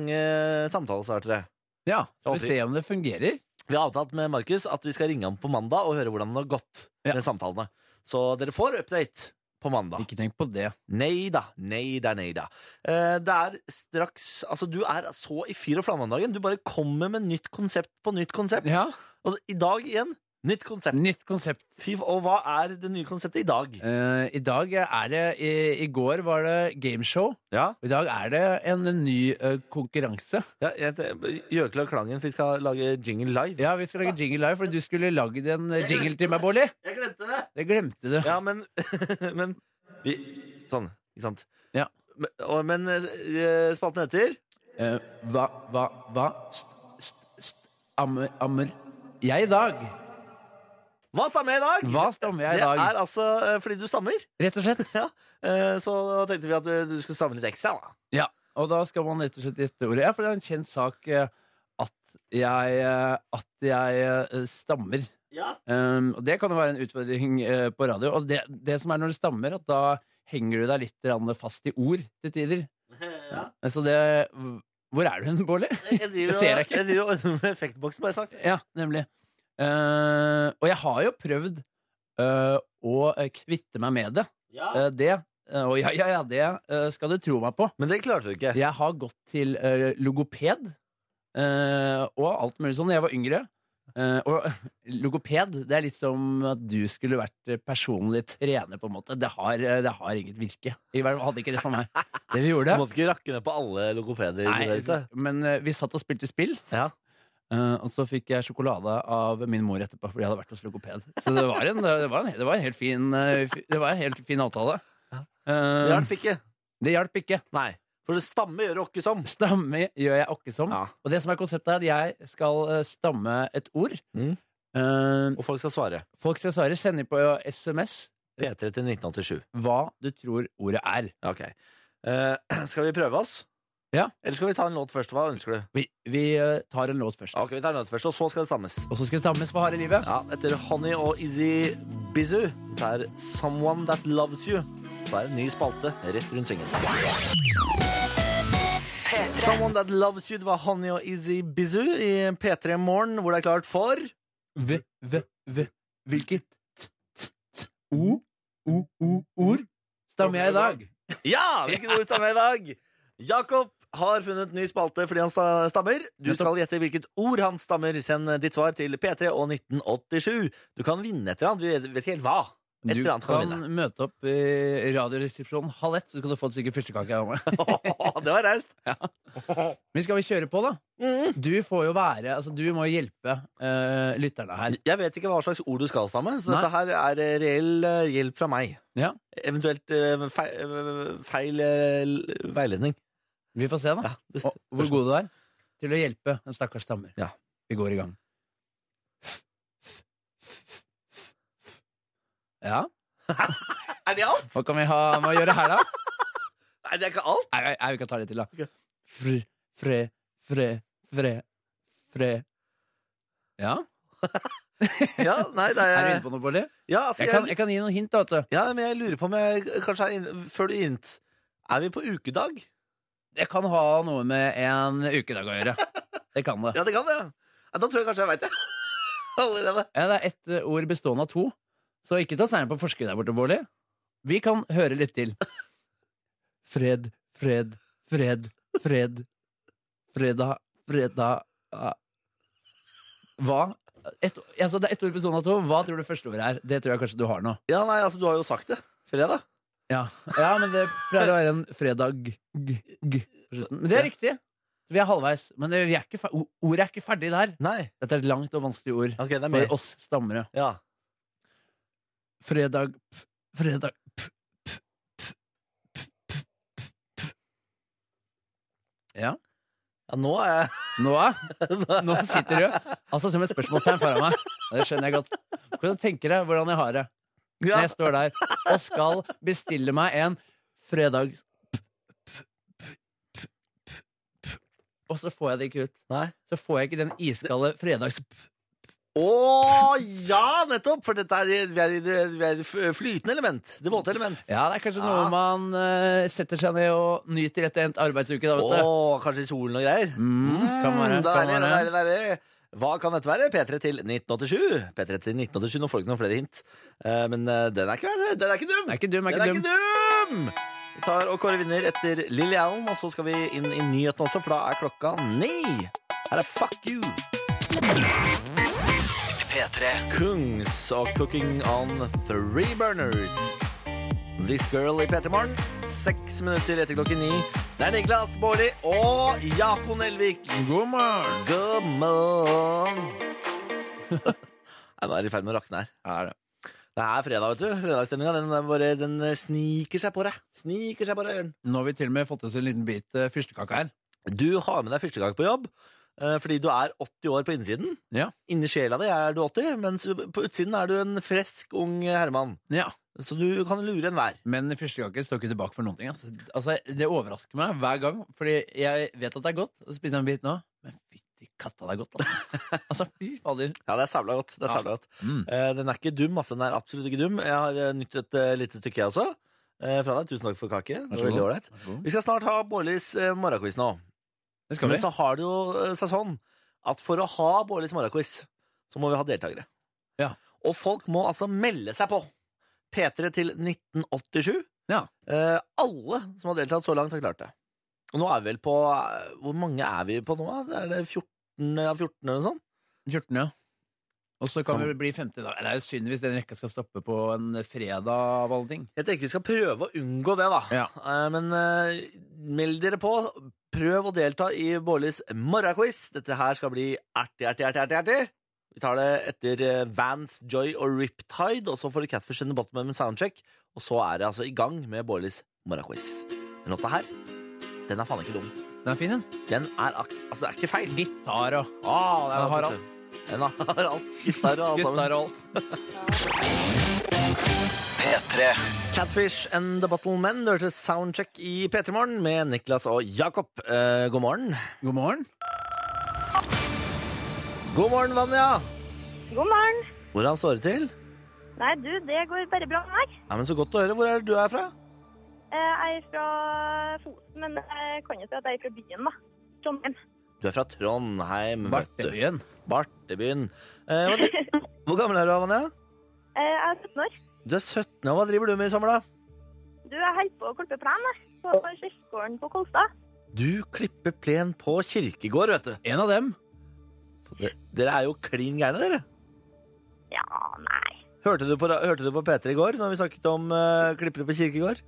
[SPEAKER 2] interessante samtalestartere.
[SPEAKER 4] Ja, Skal vi se om det fungerer?
[SPEAKER 2] Vi har avtalt med Markus at vi skal ringe ham på mandag og høre hvordan det har gått
[SPEAKER 4] Ja.
[SPEAKER 2] med samtalene. Så dere får update på mandag.
[SPEAKER 4] Ikke tenk på det.
[SPEAKER 2] Nei da, nei da, nei da. Eh, det er straks Altså, du er så i fyr og flamme om dagen. Du bare kommer med nytt konsept på nytt konsept.
[SPEAKER 4] Ja,
[SPEAKER 2] Og i dag igjen, nytt konsept.
[SPEAKER 4] Nytt konsept.
[SPEAKER 2] Fy, f- og hva er det nye konseptet i dag?
[SPEAKER 4] Eh, I dag er det I, i går var det gameshow.
[SPEAKER 2] Ja,
[SPEAKER 4] I dag er det en ny eh, konkurranse.
[SPEAKER 2] ja jeg heter Gjøkla og Klangen, for vi skal lage jingle live.
[SPEAKER 4] Ja, Vi skal lage jingle live, for du skulle lagd en eh, jingle til meg, Bolli.
[SPEAKER 2] Jeg glemte det!
[SPEAKER 4] Det glemte du.
[SPEAKER 2] Ja, men, [laughs] men vi, Sånn, ikke sant?
[SPEAKER 4] Ja.
[SPEAKER 2] Men, og, men eh, spalten heter
[SPEAKER 4] Eh, hva, hva, hva st, st, st, ammer, ammer jeg i dag?
[SPEAKER 2] Hva stammer jeg i dag?
[SPEAKER 4] Hva stammer jeg i
[SPEAKER 2] Det
[SPEAKER 4] dag?
[SPEAKER 2] er altså eh, fordi du stammer. [laughs]
[SPEAKER 4] Rett og slett.
[SPEAKER 2] Ja. eh, Så da tenkte vi at eh, du skulle stamme litt ekstra. da.
[SPEAKER 4] Ja, og da skal man rett og slett gjette ordet. Ja, for det er en kjent sak eh, at jeg, eh, at jeg eh, stammer.
[SPEAKER 2] Ja.
[SPEAKER 4] Um, og det kan jo være en utfordring eh, på radio. Og det, det som er når du stammer, at da henger du deg litt grann fast i ord til tider. Ja, Så det Hvor er du hen, Bårli?
[SPEAKER 2] [laughs] Jeg driver
[SPEAKER 4] Det ser jeg
[SPEAKER 2] og-
[SPEAKER 4] ikke.
[SPEAKER 2] Jeg driver og ordner med effektboksen, bare sagt.
[SPEAKER 4] Ja, nemlig. Eh, og jeg har jo prøvd eh, å eh, kvitte meg med det. Eh, det eh, og ja, ja, ja, det eh, skal du tro meg på.
[SPEAKER 2] Men det klarte du ikke.
[SPEAKER 4] Jeg har gått til eh, logoped eh, og alt mulig sånn da jeg var yngre. Eh, og [laughs] logoped, det er litt som at du skulle vært eh, personlig trener, på en måte. Det har, eh, det har inget virke. I hvert fall hadde ikke det for meg. [laughs] Det vi
[SPEAKER 2] Du
[SPEAKER 4] gjorde
[SPEAKER 2] måtte ikke rakke ned på alle logopeder. der
[SPEAKER 4] Nei,
[SPEAKER 2] ute.
[SPEAKER 4] men eh, vi satt og spilte spill.
[SPEAKER 2] Ja.
[SPEAKER 4] Eh, og så fikk jeg sjokolade av min mor etterpå, fordi jeg hadde vært hos logoped. Så det var en, det var en, det var en helt fin eh, fi- Det var en helt fin avtale.
[SPEAKER 2] Det
[SPEAKER 4] Eh,
[SPEAKER 2] hjalp ikke.
[SPEAKER 4] det hjalp ikke.
[SPEAKER 2] Nei. For det stamme gjør det åkke som.
[SPEAKER 4] Stamme gjør jeg åkke som.
[SPEAKER 2] Ja.
[SPEAKER 4] Og det som er konseptet er at jeg skal eh, stamme et ord.
[SPEAKER 2] Mm.
[SPEAKER 4] Eh,
[SPEAKER 2] Og folk skal svare.
[SPEAKER 4] folk skal svare. Send inn på SMS
[SPEAKER 2] P3 til 1987.
[SPEAKER 4] hva du tror ordet er.
[SPEAKER 2] Ja, Ok. Eh, [clears throat] skal vi prøve oss?
[SPEAKER 4] Ja.
[SPEAKER 2] Eller skal vi ta en låt først? Hva ønsker du?
[SPEAKER 4] Vi, vi eh, tar en låt først.
[SPEAKER 2] Ja, Ok, vi tar en låt først, og så skal det stammes.
[SPEAKER 4] Og så skal det stammes for harde livet.
[SPEAKER 2] Ja, etter Honey og Izzy Bizu. Det er Someone That Loves You. Så er det en ny spalte rett rundt svingen.
[SPEAKER 3] P3.
[SPEAKER 2] Someone That Loves You, det var Honey og Izzy Bizu i P3 Morgen, hvor det er klart for
[SPEAKER 4] V, v, v. Hvilket t, t, t, o, o, o, ord stammer jeg i dag?
[SPEAKER 2] Ja! Hvilket ord stammer i dag? Jakob har funnet ny spalte fordi han sta- stammer. Du skal gjette hvilket ord han stammer. Send eh, ditt svar til P3 og 1987. Du kan vinne et eller annet. Vi vet- vet ikke helt hva. [laughs] Et
[SPEAKER 4] Du
[SPEAKER 2] eller annet kan
[SPEAKER 4] kan
[SPEAKER 2] vinne.
[SPEAKER 4] møte opp i Radioresepsjonen halv ett, så kan du få et stykke fyrstekake [laughs] av meg.
[SPEAKER 2] det var raust.
[SPEAKER 4] Men skal vi kjøre på, da? Du får jo være Altså, du må jo hjelpe eh, lytterne her.
[SPEAKER 2] Jeg vet ikke hva slags ord du skal stamme, så
[SPEAKER 4] Nei.
[SPEAKER 2] dette her er eh, reell eh, hjelp fra meg.
[SPEAKER 4] Ja.
[SPEAKER 2] Eventuelt eh, feil, eh, feil eh, l- veiledning.
[SPEAKER 4] Vi får se, da. Og, hvor god du er til å hjelpe en stakkars stammer.
[SPEAKER 2] Ja.
[SPEAKER 4] Vi går i gang. Ja.
[SPEAKER 2] [laughs] Er det alt?
[SPEAKER 4] Hva kan vi ha med å gjøre her, da?
[SPEAKER 2] Nei, det er ikke alt.
[SPEAKER 4] Nei, nei, nei, vi kan ta det til, da.
[SPEAKER 2] Ok.
[SPEAKER 4] Fre, fre, fre, fre, fre. Ja?
[SPEAKER 2] Ja, nei, det
[SPEAKER 4] Er du
[SPEAKER 2] er,
[SPEAKER 4] inne på noe, Bolli?
[SPEAKER 2] ja, altså,
[SPEAKER 4] Jeg kan,
[SPEAKER 2] jeg,
[SPEAKER 4] jeg kan gi noen hint, da. vet du.
[SPEAKER 2] ja, men jeg lurer på om jeg kanskje er inn, Før du gir hint, er vi på ukedag?
[SPEAKER 4] Det kan ha noe med en ukedag å gjøre. Det kan det.
[SPEAKER 2] Ja, det kan det. Ja, da tror jeg kanskje jeg veit det. [laughs] Allerede.
[SPEAKER 4] Ja, det er ett eh, ord bestående av to, så ikke ta seieren på forskudd der borte, Bårli. Vi kan høre litt til. Fred, fred, fred, fred. Fredag, fredag ah. Hva? Et, altså, det er ett ord bestående av to. Hva tror du første ordet er? Det tror jeg kanskje du har nå.
[SPEAKER 2] Ja, nei, altså, du har jo sagt det. Fredag.
[SPEAKER 4] Ja, ja men det pleier å være en fredag g, g, på slutten. Men det er riktig. Så vi er halvveis. Men det, vi er ikke fer- o- ordet er ikke ferdig der.
[SPEAKER 2] Nei.
[SPEAKER 4] Dette er et langt og vanskelig ord
[SPEAKER 2] Ok, det er mer.
[SPEAKER 4] for oss stammere.
[SPEAKER 2] Ja.
[SPEAKER 4] Fredag p- Fredag p- p- p- p- p- p- p- Ja.
[SPEAKER 2] ja, nå er jeg [laughs]
[SPEAKER 4] Nå, er- nå sitter du altså som et spørsmålstegn foran meg. Det skjønner jeg godt. Hvordan tenker jeg hvordan jeg har det når
[SPEAKER 2] ja.
[SPEAKER 4] jeg står der og skal bestille meg en fredag p- p- p- p- p- p- Og så får jeg det ikke ut.
[SPEAKER 2] Nei.
[SPEAKER 4] Så får jeg ikke den iskalde fredags...
[SPEAKER 2] Å ja, nettopp! For dette er, vi er i det, vi er i det f- flytende element. Det våte element.
[SPEAKER 4] Ja, det er kanskje
[SPEAKER 2] Ja.
[SPEAKER 4] noe man eh, setter seg ned og nyter etter endt arbeidsuke, da,
[SPEAKER 2] Å,
[SPEAKER 4] vet du.
[SPEAKER 2] kanskje solen og greier.
[SPEAKER 4] Mm, kan være,
[SPEAKER 2] Mm,
[SPEAKER 4] kan
[SPEAKER 2] deilig,
[SPEAKER 4] være.
[SPEAKER 2] deilig, deilig. Hva kan dette være? P3 til 1987. P3 til 1987, Nå får du ikke noen flere hint. Eh, men eh, den er ikke, verre. den er ikke dum!
[SPEAKER 4] Den er ikke dum, er
[SPEAKER 2] Den
[SPEAKER 4] ikke dum.
[SPEAKER 2] dum! Vi tar og kårer vinner etter Lily Allen, og så skal vi inn i nyhetene også, for da er klokka ni. Her er Fuck You.
[SPEAKER 1] P3.
[SPEAKER 2] Kungs og Cooking on Three Burners. This Girl i P3 Morgen. Seks minutter etter klokken ni. Det er Niklas Baarli og Jakob Nelvik.
[SPEAKER 4] God morgen!
[SPEAKER 2] God morgen. [laughs] Nei, Nå er det i ferd med å rakne her.
[SPEAKER 4] Er det.
[SPEAKER 2] Det er fredag, vet du. Fredagsstemninga den, er bare- den eh, sniker seg på deg. Sniker seg på deg, Jørn.
[SPEAKER 4] Nå har vi til og med fått oss en liten bit eh, fyrstekake her.
[SPEAKER 2] Du har med deg første gang på jobb eh, fordi du er 80 år på innsiden.
[SPEAKER 4] Ja.
[SPEAKER 2] Inni sjela di er du 80, mens på utsiden er du en frisk, ung eh, herremann.
[SPEAKER 4] Ja.
[SPEAKER 2] Så du kan lure enhver.
[SPEAKER 4] Men fyrstekake står ikke tilbake for noen ting. Altså. Altså, det overrasker meg hver gang, fordi jeg vet at det er godt. Og så spiser jeg en bit nå. Men fytti katta, det er godt, [laughs] altså. altså fy fader.
[SPEAKER 2] Ja, det er sabla godt. Det er
[SPEAKER 4] Ja.
[SPEAKER 2] sabla godt.
[SPEAKER 4] Mm.
[SPEAKER 2] Eh, den er ikke dum, altså. Den er absolutt ikke dum. Jeg har eh, nytt et eh, lite stykke, jeg også. eh, fra deg. Tusen takk for kake. Det
[SPEAKER 4] så
[SPEAKER 2] var veldig
[SPEAKER 4] god.
[SPEAKER 2] ålreit. Vi skal snart ha Bårlis eh, morgenquiz nå.
[SPEAKER 4] Det skal vi.
[SPEAKER 2] Men så har det jo eh, seg sånn at for å ha Bårlis morgenquiz, så må vi ha deltakere.
[SPEAKER 4] Ja.
[SPEAKER 2] Og folk må altså melde seg på. P3 til 1987.
[SPEAKER 4] Ja.
[SPEAKER 2] Eh, alle som har deltatt så langt, har klart det. Og nå er vi vel på eh, Hvor mange er vi på nå? da? Er det 14 av 14 eller noe sånt?
[SPEAKER 4] 14, ja. Og så kan vi bli 50 dager. Det er jo synd hvis den rekka skal stoppe på en fredag av alle ting.
[SPEAKER 2] Jeg tenker vi skal prøve å unngå det, da.
[SPEAKER 4] Ja.
[SPEAKER 2] Eh, Men eh, meld dere på. Prøv å delta i Bårlis morgenquiz. Dette her skal bli ertig, ertig, ertig. ertig, ertig. Vi tar det etter eh, Vans, Joy og Riptide, og så får du Catfish in the Bottom med soundcheck. Og så er det altså i gang med Bårlis morgenquiz. Den låta her, den er faen ikke dum.
[SPEAKER 4] Den er fin, den.
[SPEAKER 2] Den er ak Altså, det er ikke feil.
[SPEAKER 4] Gitar og
[SPEAKER 2] Ah,
[SPEAKER 4] Den har alt.
[SPEAKER 2] Den har alt. Gitar og alt sammen.
[SPEAKER 4] Gitar og alt.
[SPEAKER 1] P3.
[SPEAKER 2] Catfish and The Bottle Men. Du hørte Soundcheck i P3 Morgen med Niklas og Jakob. Eh, god morgen.
[SPEAKER 4] God morgen.
[SPEAKER 2] God morgen, Vanja.
[SPEAKER 6] God morgen.
[SPEAKER 2] Hvordan står det til?
[SPEAKER 6] Nei, du, det går bare bra med meg.
[SPEAKER 2] Nei, men Så godt å høre. Hvor er det du er fra?
[SPEAKER 6] Eh, Jeg er fra Fosen, men jeg kan jo si at jeg er fra byen, da. Trondheim.
[SPEAKER 2] Du er fra Trondheim. vet du.
[SPEAKER 4] Bartebyen.
[SPEAKER 2] Bartebyen. Eh, hva dri- Hvor gammel er du, Vanja?
[SPEAKER 6] Eh, Jeg er 17 år.
[SPEAKER 2] Du er 17, og hva driver du med i sommer, da?
[SPEAKER 6] Du, jeg holder på å klippe plen, jeg. På kirkegården på Kolstad.
[SPEAKER 2] Du klipper plen på kirkegård, vet du.
[SPEAKER 4] En av dem.
[SPEAKER 2] Dere er jo klin gærne, dere.
[SPEAKER 6] Ja, nei.
[SPEAKER 2] Hørte du, på, ra- hørte du på P3 i går når vi snakket om eh, klippere på kirkegård?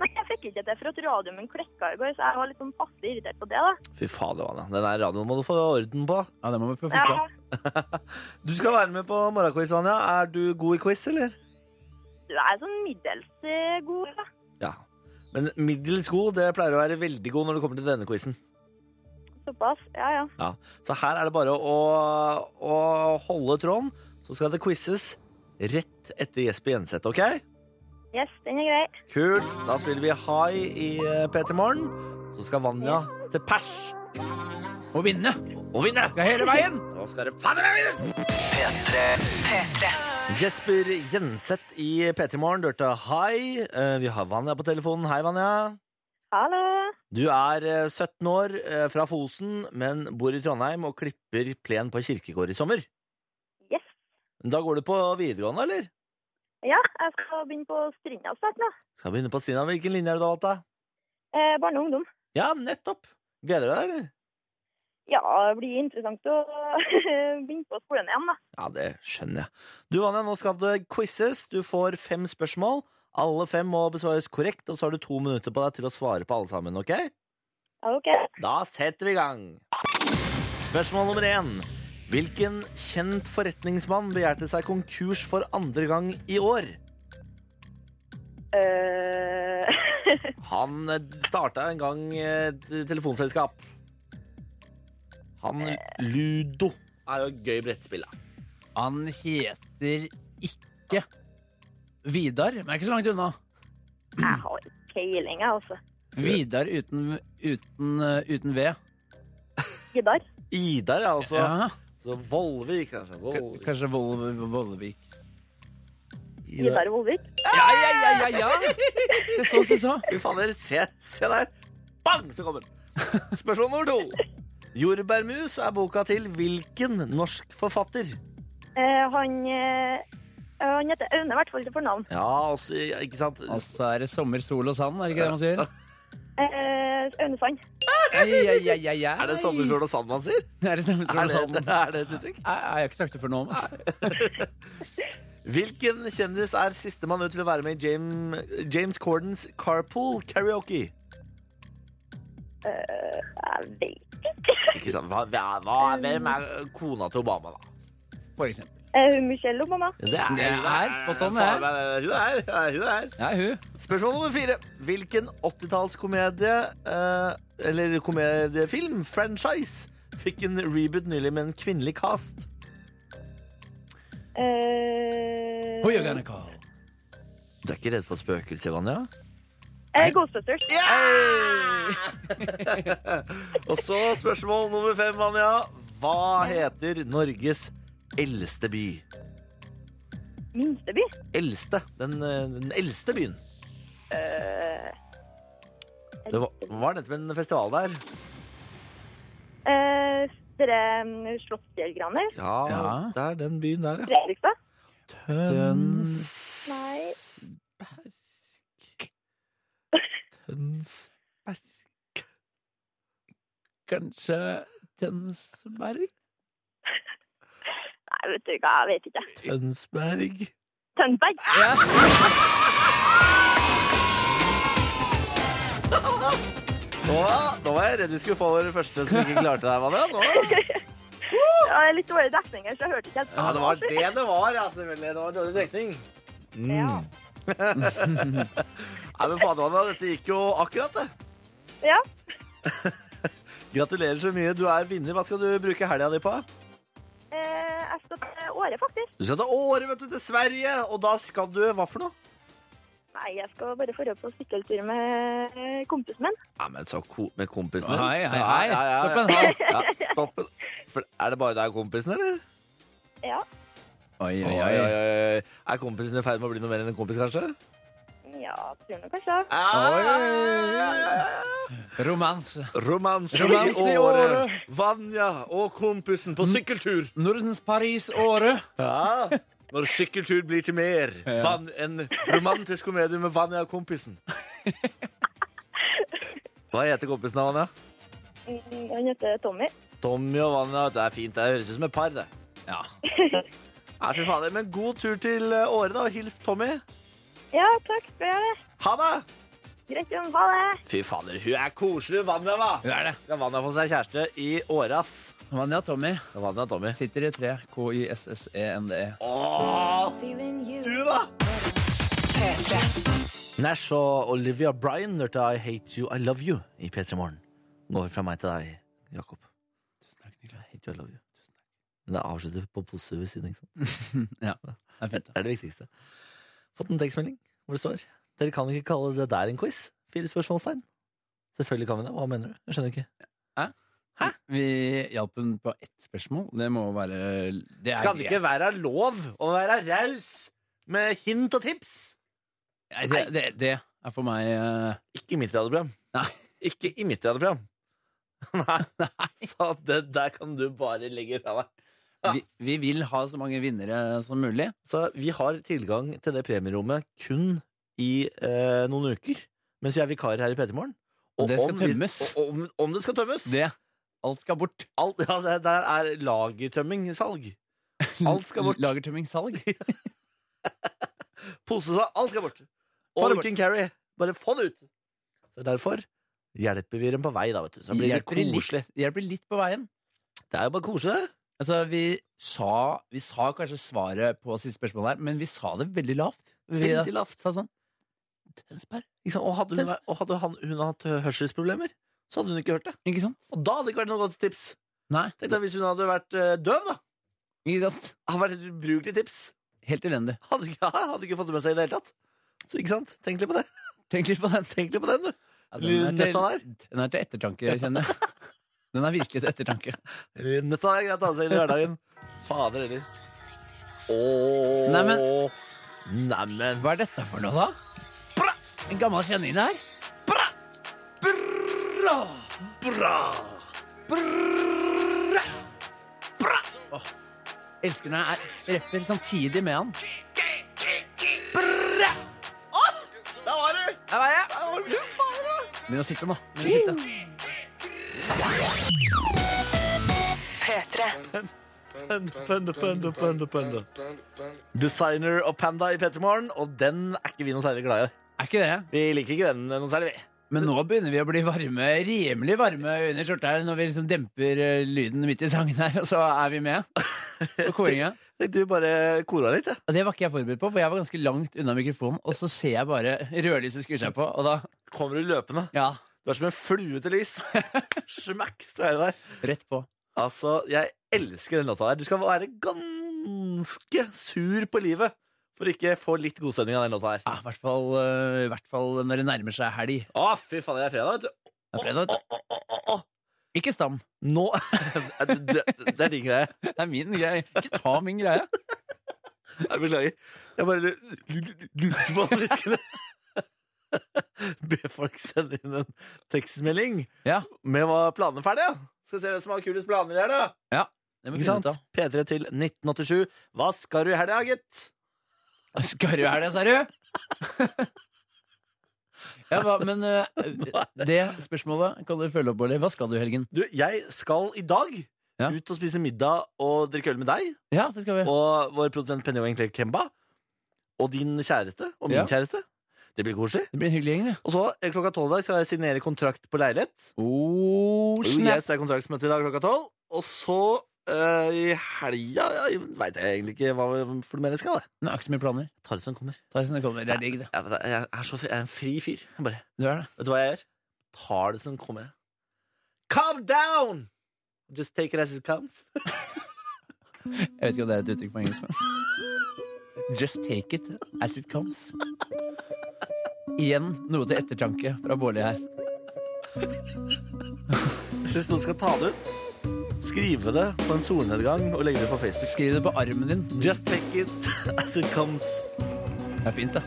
[SPEAKER 6] Nei, jeg fikk ikke til for at radioen min klekka i går, så jeg var litt sånn passe irritert på det, da.
[SPEAKER 2] Fy fader, Vanja. Den der radioen må du få orden på.
[SPEAKER 4] Ja, den må vi få
[SPEAKER 6] Ja,
[SPEAKER 4] fiksa.
[SPEAKER 2] Du skal være med på morgenquiz, Vanja. Er du god i quiz, eller?
[SPEAKER 6] du jeg er sånn middels eh, god, da.
[SPEAKER 2] Ja. Men middels god, det pleier å være veldig god når det kommer til denne quizen.
[SPEAKER 6] Såpass. Ja, ja.
[SPEAKER 2] Så her er det bare å, å holde tråden, så skal det quizes rett etter Jesper Jenseth, OK?
[SPEAKER 6] Yes, den er grei.
[SPEAKER 2] Kult. Da spiller vi high i eh, P3 Morgen. Så skal Vanja til pers
[SPEAKER 4] Må vinne.
[SPEAKER 2] og vinne.
[SPEAKER 4] Skal hele veien.
[SPEAKER 2] Nå skal det fader meg vinnes! Jesper Jenseth i P3 Morgen, du hørte hei. Eh, Vi har Vanja på telefonen. Hei, Vanja.
[SPEAKER 6] Hallo.
[SPEAKER 2] Du er eh, 17 år, eh, fra Fosen, men bor i Trondheim og klipper plen på kirkegård i sommer.
[SPEAKER 6] Yes.
[SPEAKER 2] Da går du på videregående, eller?
[SPEAKER 6] Ja, jeg skal begynne på Strinda snart nå.
[SPEAKER 2] Skal begynne på Stina. Hvilken linje er det du har valgt? da?
[SPEAKER 6] Eh, barne og ungdom.
[SPEAKER 2] Ja, nettopp! Gleder du deg, eller?
[SPEAKER 6] Ja, det blir interessant å [laughs] begynne på skolen igjen, da.
[SPEAKER 2] Ja, det skjønner jeg. Du, Vanja, nå skal det quizes. Du får fem spørsmål. Alle fem må besvares korrekt, og så har du to minutter på deg til å svare på alle sammen, ok?
[SPEAKER 6] Ja, OK.
[SPEAKER 2] Da setter vi i gang. Spørsmål nummer én. Hvilken kjent forretningsmann begjærte seg konkurs for andre gang i år?
[SPEAKER 6] Eh, [laughs]
[SPEAKER 2] Han eh, starta en gang eh, et telefonselskap. Han Ludo Eh. er jo et gøy brettspill, da.
[SPEAKER 4] Han heter ikke Vidar, men er ikke så langt unna.
[SPEAKER 6] jeg har ikke peiling, jeg, altså.
[SPEAKER 4] Vidar uten, uten, eh, uten V.
[SPEAKER 6] Gitar.
[SPEAKER 2] Idar er altså
[SPEAKER 4] Ja.
[SPEAKER 2] Så Vollvik, kanskje.
[SPEAKER 4] K-
[SPEAKER 2] Vollvik.
[SPEAKER 4] Kanskje Vol- Vollevik.
[SPEAKER 6] Gitar Volvik.
[SPEAKER 4] Ja, ja, ja, ja, ja! Se så, se så.
[SPEAKER 2] Fy fader, se, se der! Bang,
[SPEAKER 4] [laughs]
[SPEAKER 2] så kommer den! Spørsmål nummer to. Jordbærmus er boka til hvilken norsk forfatter?
[SPEAKER 6] Eh, han, eh, han heter Aune, i hvert fall til fornavn.
[SPEAKER 2] Ja, altså, ikke sant?
[SPEAKER 4] Altså er det sommer, sol og sand, er det ikke det man
[SPEAKER 2] [laughs]
[SPEAKER 4] sier?
[SPEAKER 6] Eh, Aune Sand.
[SPEAKER 4] Ai, ai, ai, ai, ai.
[SPEAKER 2] Er det Sommersol og sand man sier?
[SPEAKER 4] [laughs] Er det sommer, sol
[SPEAKER 2] Er
[SPEAKER 4] og
[SPEAKER 2] det,
[SPEAKER 4] sand?
[SPEAKER 2] er det et uttrykk?
[SPEAKER 4] Nei, Jeg har ikke sagt det før nå. men-
[SPEAKER 2] Hvilken kjendis er sistemann ut til å være med i James, James Cordens Carpool Karaoke?
[SPEAKER 6] Eh, jeg vet ikke. [laughs]
[SPEAKER 2] Ikke sant? Hva, hva, hva, hvem er kona til Obama, da?
[SPEAKER 4] For eksempel.
[SPEAKER 6] Eh, Michelle Obama.
[SPEAKER 2] Det er,
[SPEAKER 4] er spot on, det er.
[SPEAKER 2] eh, Hun er, hun er, hun er.
[SPEAKER 4] Ja, hun.
[SPEAKER 2] Spørsmål nummer fire. Hvilken 80-tallskomedie eh, eller komediefilm, franchise, fikk en reboot nylig med en kvinnelig cast?
[SPEAKER 6] Eh,
[SPEAKER 4] Who you gonna call?
[SPEAKER 2] Du er ikke redd for spøkelser, Vanja?
[SPEAKER 6] eh, Ghostbusters. Eh,
[SPEAKER 2] Og så spørsmål nummer fem, Vanja. Hva heter Norges eldste by?
[SPEAKER 6] Minsteby.
[SPEAKER 2] Eldste. Den, eh, den eldste byen.
[SPEAKER 6] Eh,
[SPEAKER 2] Det var, var nettopp en festival der.
[SPEAKER 6] eh, dere um, Slottsfjellgraner.
[SPEAKER 2] Ja,
[SPEAKER 4] Ja.
[SPEAKER 2] det er den byen der, ja.
[SPEAKER 6] Fredrikstad.
[SPEAKER 2] Tønsberg
[SPEAKER 6] Nei.
[SPEAKER 2] Tønsberg
[SPEAKER 4] Kanskje Tønsberg?
[SPEAKER 6] Nei, vet du hva, jeg vet ikke.
[SPEAKER 2] Tønsberg.
[SPEAKER 6] Tønsberg?
[SPEAKER 2] Nå, nå var jeg redd vi skulle få den første som ikke klarte deg, Vanja. Nå-
[SPEAKER 6] Det var litt dårlig dekning her, så jeg hørte ikke helt.
[SPEAKER 2] Ja, det var det det var, ja, selvfølgelig. Det var dårlig dekning. Mm.
[SPEAKER 6] Ja.
[SPEAKER 2] Nei, men fader, Vanja, dette gikk jo akkurat, det.
[SPEAKER 6] ja.
[SPEAKER 2] Gratulerer så mye. Du er vinner. Hva skal du bruke helga di på?
[SPEAKER 6] Eh, jeg skal til Åre, faktisk.
[SPEAKER 2] Du skal til Åre, vet du, til Sverige. Og da skal du Hva for noe?
[SPEAKER 6] Nei, jeg skal bare dra på sykkeltur med eh, kompisen min.
[SPEAKER 2] Ja, men så ko med kompisen din.
[SPEAKER 4] Hei, hei,
[SPEAKER 2] Ja,
[SPEAKER 4] hei.
[SPEAKER 2] ja, ja, ja.
[SPEAKER 4] Stopp en hal.
[SPEAKER 2] Ja, stopp en For Er det bare deg og kompisen, eller?
[SPEAKER 6] Ja.
[SPEAKER 4] Oi,
[SPEAKER 2] Oi, oi, oi. Er kompisen i ferd med å bli noe mer enn en kompis, kanskje?
[SPEAKER 6] Ja, tror altså. nå kanskje.
[SPEAKER 4] Romans.
[SPEAKER 2] Romans
[SPEAKER 4] Romans i året.
[SPEAKER 2] Vanja og kompisen på sykkeltur.
[SPEAKER 4] Nordens Paris-året.
[SPEAKER 2] Ja. Når sykkeltur blir til mer.
[SPEAKER 4] Ja.
[SPEAKER 2] Van, en romantisk komedie med Vanja og kompisen. Hva heter kompisen av Vanja?
[SPEAKER 6] Mm, Han heter Tommy.
[SPEAKER 2] Tommy og Vanja. Det er fint. Det høres ut som et par, det.
[SPEAKER 4] Ja.
[SPEAKER 2] Ja, fy fader. Men god tur til eh, Åre, da. og Hils Tommy.
[SPEAKER 6] Ja, takk for det.
[SPEAKER 2] Ha det!
[SPEAKER 6] Greit, Jon. Ha det.
[SPEAKER 2] Fy fader, hun er koselig, Vanja,
[SPEAKER 4] Hun
[SPEAKER 2] hva?
[SPEAKER 4] er det.
[SPEAKER 2] Skal Vanja få seg kjæreste i Åre, ass.
[SPEAKER 4] Vanja Tommy
[SPEAKER 2] Det er Vanja og Tommy.
[SPEAKER 4] sitter i E tre. K-i-s-s-e-n-d-e.
[SPEAKER 2] Åh, du da? Nash og Olivia Bryan hørte I Hate You, I Love You i P3 Morgen. Går fra meg til deg, Jakob. I hate you, I love you. Men det avslutter på positive siden, ikke sant?
[SPEAKER 4] Ja, det er fint.
[SPEAKER 2] Det er det viktigste. Fått en tekstmelding hvor det står Dere kan ikke kalle det der en quiz? Fire spørsmålstegn. Selvfølgelig kan vi det. Hva mener du? Jeg skjønner ikke.
[SPEAKER 4] Vi hjalp henne på ett spørsmål. Det må være det er
[SPEAKER 2] Skal det ikke være lov å være raus med hint og tips?
[SPEAKER 4] Nei, det, det, det er for meg eh,
[SPEAKER 2] Ikke i mitt radioprogram.
[SPEAKER 4] Nei.
[SPEAKER 2] Ikke i mitt radioprogram. [laughs] Nei. Så det der kan du bare legge fra deg.
[SPEAKER 4] vi, vi vil ha så mange vinnere som mulig.
[SPEAKER 2] Så vi har tilgang til det premierommet kun i eh, noen uker, mens vi er vikarer her i P3 Morgen.
[SPEAKER 4] Og det skal
[SPEAKER 2] om vi-
[SPEAKER 4] tømmes.
[SPEAKER 2] Og om, om det skal tømmes.
[SPEAKER 4] Det. Alt skal bort.
[SPEAKER 2] Alt, ja, det, der er
[SPEAKER 4] [laughs]
[SPEAKER 2] lagertømmingsalg. Alt skal bort.
[SPEAKER 4] Lagertømmingssalg.
[SPEAKER 2] Pose seg, alt skal bort.
[SPEAKER 4] Få
[SPEAKER 2] All
[SPEAKER 4] det
[SPEAKER 2] you
[SPEAKER 4] bort.
[SPEAKER 2] can carry. Bare få det ut. Så derfor hjelper vi dem på vei, da, vet du. Så blir det
[SPEAKER 4] Hjelper litt-
[SPEAKER 2] koselig.
[SPEAKER 4] Hjelper litt på veien.
[SPEAKER 2] Det er jo bare koselig, det.
[SPEAKER 4] Altså, vi sa, vi sa kanskje svaret på siste spørsmål her, men vi sa det veldig lavt. Vi
[SPEAKER 2] Veldig lavt.
[SPEAKER 4] sa sånn Tønsberg.
[SPEAKER 2] Ikke sant? Og hadde, hun, vært- og hadde han, hun hatt øh, hørselsproblemer, så hadde hun ikke hørt det.
[SPEAKER 4] Ikke sant?
[SPEAKER 2] Og da hadde det ikke vært noe godt tips.
[SPEAKER 4] Nei.
[SPEAKER 2] Tenk deg hvis hun hadde vært eh, døv, da.
[SPEAKER 4] Ikke sant?
[SPEAKER 2] Hadde vært et ubrukelig tips.
[SPEAKER 4] Helt elendig.
[SPEAKER 2] Hadde, ikke- [laughs] ja, hadde ikke fått det med seg i det hele tatt. Så ikke sant? Tenk litt på det. [laughs]
[SPEAKER 4] Tenk litt på den.
[SPEAKER 2] Tenk litt på den, du.
[SPEAKER 4] Ja, den, er
[SPEAKER 2] Nøtta
[SPEAKER 4] til, den er til ettertanke, kjenner jeg. Den er virkelig til ettertanke.
[SPEAKER 2] Nøtta er greit å ha seg inn i hverdagen. Fader heller. Ååå.
[SPEAKER 4] Neimen.
[SPEAKER 2] Neimen.
[SPEAKER 4] Hva er dette for noe, da? Bra! En gammel kjenning her.
[SPEAKER 2] Bra! Bra!
[SPEAKER 4] Elsker når jeg er- rapper samtidig med han.
[SPEAKER 2] Der var du!
[SPEAKER 4] Der var jeg! Begynn å sitte nå. Begynn å sitte.
[SPEAKER 3] P3.
[SPEAKER 2] Panda, panda, panda, panda. Designer og Panda i Pettermorgen, og den er ikke vi noe særlig glad i.
[SPEAKER 4] Er ikke det?
[SPEAKER 2] Vi liker ikke den noe særlig, vi.
[SPEAKER 4] Men nå begynner vi å bli varme, rimelig varme under skjorta her, når vi liksom demper eh, lyden midt i sangen her, og så er vi med på [laughs] koringa.
[SPEAKER 2] Tenkte vi bare kora litt, jeg.
[SPEAKER 4] Og det var ikke jeg forberedt på, for jeg var ganske langt unna mikrofonen, og så ser jeg bare rødlyset skrur seg på, og da
[SPEAKER 2] Kommer du løpende?
[SPEAKER 4] Ja,
[SPEAKER 2] Du er som en flue til
[SPEAKER 4] [laughs]
[SPEAKER 2] lys. Smekk, så er det der.
[SPEAKER 4] rett på.
[SPEAKER 2] Altså, jeg elsker den låta der. Du skal være ganske sur på livet for ikke få litt godstemning av den låta her.
[SPEAKER 4] Ja, i hvert fall, eh, i hvert fall når det nærmer seg helg.
[SPEAKER 2] Å, fy faen, det er fredag, vet du.
[SPEAKER 4] Det er fredag, vet du.
[SPEAKER 2] Å, å, å, å, å.
[SPEAKER 4] Ikke stam.
[SPEAKER 2] Nå [laughs] Det, det, det er din greie.
[SPEAKER 4] Det er min greie. Ikke ta min greie.
[SPEAKER 2] Jeg beklager. Jeg bare lu- lu- lu- lurte på om vi skulle [laughs] be folk sende inn en tekstmelding
[SPEAKER 4] Ja.
[SPEAKER 2] med hva planene er ferdige. Skal se hvem som har kulest planer her, da.
[SPEAKER 4] Det må vi
[SPEAKER 2] Ikke
[SPEAKER 4] finne
[SPEAKER 2] sant?
[SPEAKER 4] ut av.
[SPEAKER 2] P3 til 1987. Hva skal du i helga, gitt?
[SPEAKER 4] Skarru er det, sa du? [laughs] Ja, hva, men eh, det spørsmålet kan du følge opp, Bårdli. Hva skal du i helgen?
[SPEAKER 2] Du, jeg skal i dag
[SPEAKER 4] Ja.
[SPEAKER 2] ut og spise middag og drikke øl med deg
[SPEAKER 4] Ja, det skal vi.
[SPEAKER 2] og vår produsent Penny Wang Claire Kemba og din kjæreste og min
[SPEAKER 4] Ja.
[SPEAKER 2] kjæreste. Det blir koselig.
[SPEAKER 4] Det blir en hyggelig gjeng, det.
[SPEAKER 2] Og så eh, klokka tolv i dag skal jeg signere kontrakt på leilighet.
[SPEAKER 4] Oh,
[SPEAKER 2] Oh, yes, det er kontraktsmøte i dag klokka tolv. Og så eh, i helga ja, veit jeg egentlig ikke hva for noe mer jeg skal. Jeg.
[SPEAKER 4] Nå er det ikke så mye planer.
[SPEAKER 2] jeg tar det som det kommer.
[SPEAKER 4] Ta det som det kommer. Det er digg, det.
[SPEAKER 2] Jeg, vet det, jeg, er så, fri- jeg er en fri fyr. Jeg bare,
[SPEAKER 4] Du er det.
[SPEAKER 2] vet du hva jeg gjør? Tar det som det kommer. jeg. Calm down! Just take it as it comes.
[SPEAKER 4] Jeg vet ikke om det er et uttrykk på engelsk, men Just take it as it comes. Igjen noe til ettertanke fra Bårli her.
[SPEAKER 2] Jeg syns noen skal ta det ut. Skrive det på en solnedgang og legge det på Facebook.
[SPEAKER 4] Skriv det på armen din.
[SPEAKER 2] Just take it [laughs] as it comes.
[SPEAKER 4] Det er fint, da.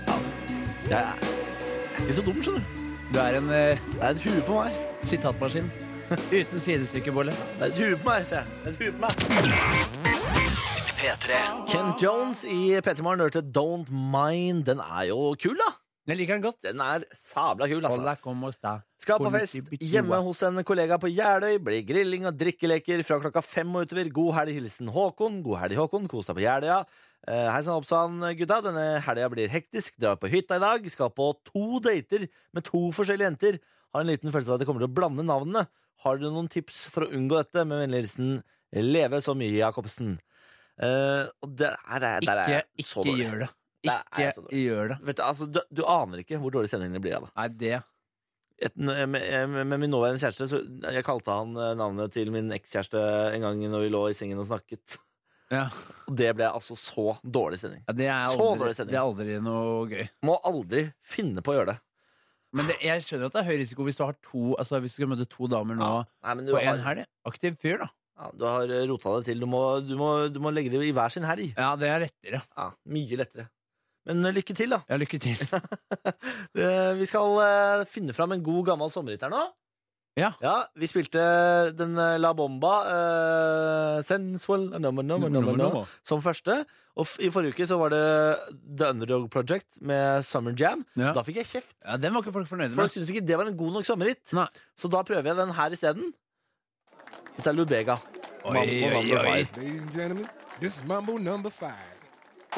[SPEAKER 2] Jeg er ikke så dum, skjønner du.
[SPEAKER 4] Du er en eh,
[SPEAKER 2] Det er et hue på meg.
[SPEAKER 4] sitatmaskin. [laughs] Uten sidestykke, Bårli.
[SPEAKER 2] Det er et hue på meg, sier jeg. Det er et hue på meg.
[SPEAKER 1] P3.
[SPEAKER 2] Ken Jones i P3 Morgen hørte Don't Mind. Den er jo kul, da.
[SPEAKER 4] Jeg liker den godt.
[SPEAKER 2] Den er sabla kul, altså.
[SPEAKER 4] Hola, como esta?
[SPEAKER 2] Skal på fest hjemme hos en kollega på Jeløy. Blir grilling og drikkeleker fra klokka fem og utover. God helg, hilsen Håkon. God helg, Håkon. Kos deg på Jeløya. Eh, Hei sann, oppsann, gutta. Denne helga blir hektisk. Drar på hytta i dag. Skal på to dater med to forskjellige jenter. Har en liten følelse av at jeg kommer til å blande navnene. Har dere noen tips for å unngå dette? Med vennlig hilsen Leve så mye, Jacobsen. Eh, og det her er, der er
[SPEAKER 4] Ikke,
[SPEAKER 2] jeg så
[SPEAKER 4] ikke
[SPEAKER 2] dårlig.
[SPEAKER 4] gjør det.
[SPEAKER 2] Der er jeg så
[SPEAKER 4] Ikke
[SPEAKER 2] dårlig.
[SPEAKER 4] gjør det.
[SPEAKER 2] Vet du, altså, du, du aner ikke hvor dårlig stemningen blir av det.
[SPEAKER 4] Nei, det
[SPEAKER 2] Et, med, med, med min nåværende kjæreste så Jeg kalte han eh, navnet til min ekskjæreste en gang når vi lå i sengen og snakket.
[SPEAKER 4] ja.
[SPEAKER 2] Og det ble altså så dårlig stemning.
[SPEAKER 4] Ja, det, er
[SPEAKER 2] Så
[SPEAKER 4] aldri,
[SPEAKER 2] dårlig stemning.
[SPEAKER 4] det er aldri noe gøy.
[SPEAKER 2] Må aldri finne på å gjøre det.
[SPEAKER 4] Men det, jeg skjønner at det er høy risiko hvis du har to Altså hvis du skal møte to damer nå
[SPEAKER 2] Nei, men du
[SPEAKER 4] på
[SPEAKER 2] har,
[SPEAKER 4] en helg. Aktiv fyr, da.
[SPEAKER 2] ja, du har rota det til. Du må, du, må, du må legge det i hver sin helg.
[SPEAKER 4] Ja, det er lettere.
[SPEAKER 2] Ja, mye lettere. Men eh, lykke til, da.
[SPEAKER 4] Ja, lykke til.
[SPEAKER 2] Eh, Vi skal eh, finne fram en god, gammel sommerhit her nå.
[SPEAKER 4] [laughs] Ja.
[SPEAKER 2] Vi spilte den eh, La Bomba eh, Sensual nummer, nummer, nummer, nummer. som første. Og f i forrige uke så var det The Underdog Project med Summer Jam.
[SPEAKER 4] Ja.
[SPEAKER 2] Da fikk jeg kjeft.
[SPEAKER 4] ja, Den var ikke folk fornøyde
[SPEAKER 2] Folk
[SPEAKER 4] med.
[SPEAKER 2] syntes ikke det var en god nok sommerhit.
[SPEAKER 4] Nei.
[SPEAKER 2] Så da prøver jeg den her isteden. Dette er Lubega.
[SPEAKER 4] Oi,
[SPEAKER 2] Mambo
[SPEAKER 4] oi,
[SPEAKER 2] number
[SPEAKER 4] oi.
[SPEAKER 2] five.
[SPEAKER 7] Ladies and gentlemen, this is Mambo number five.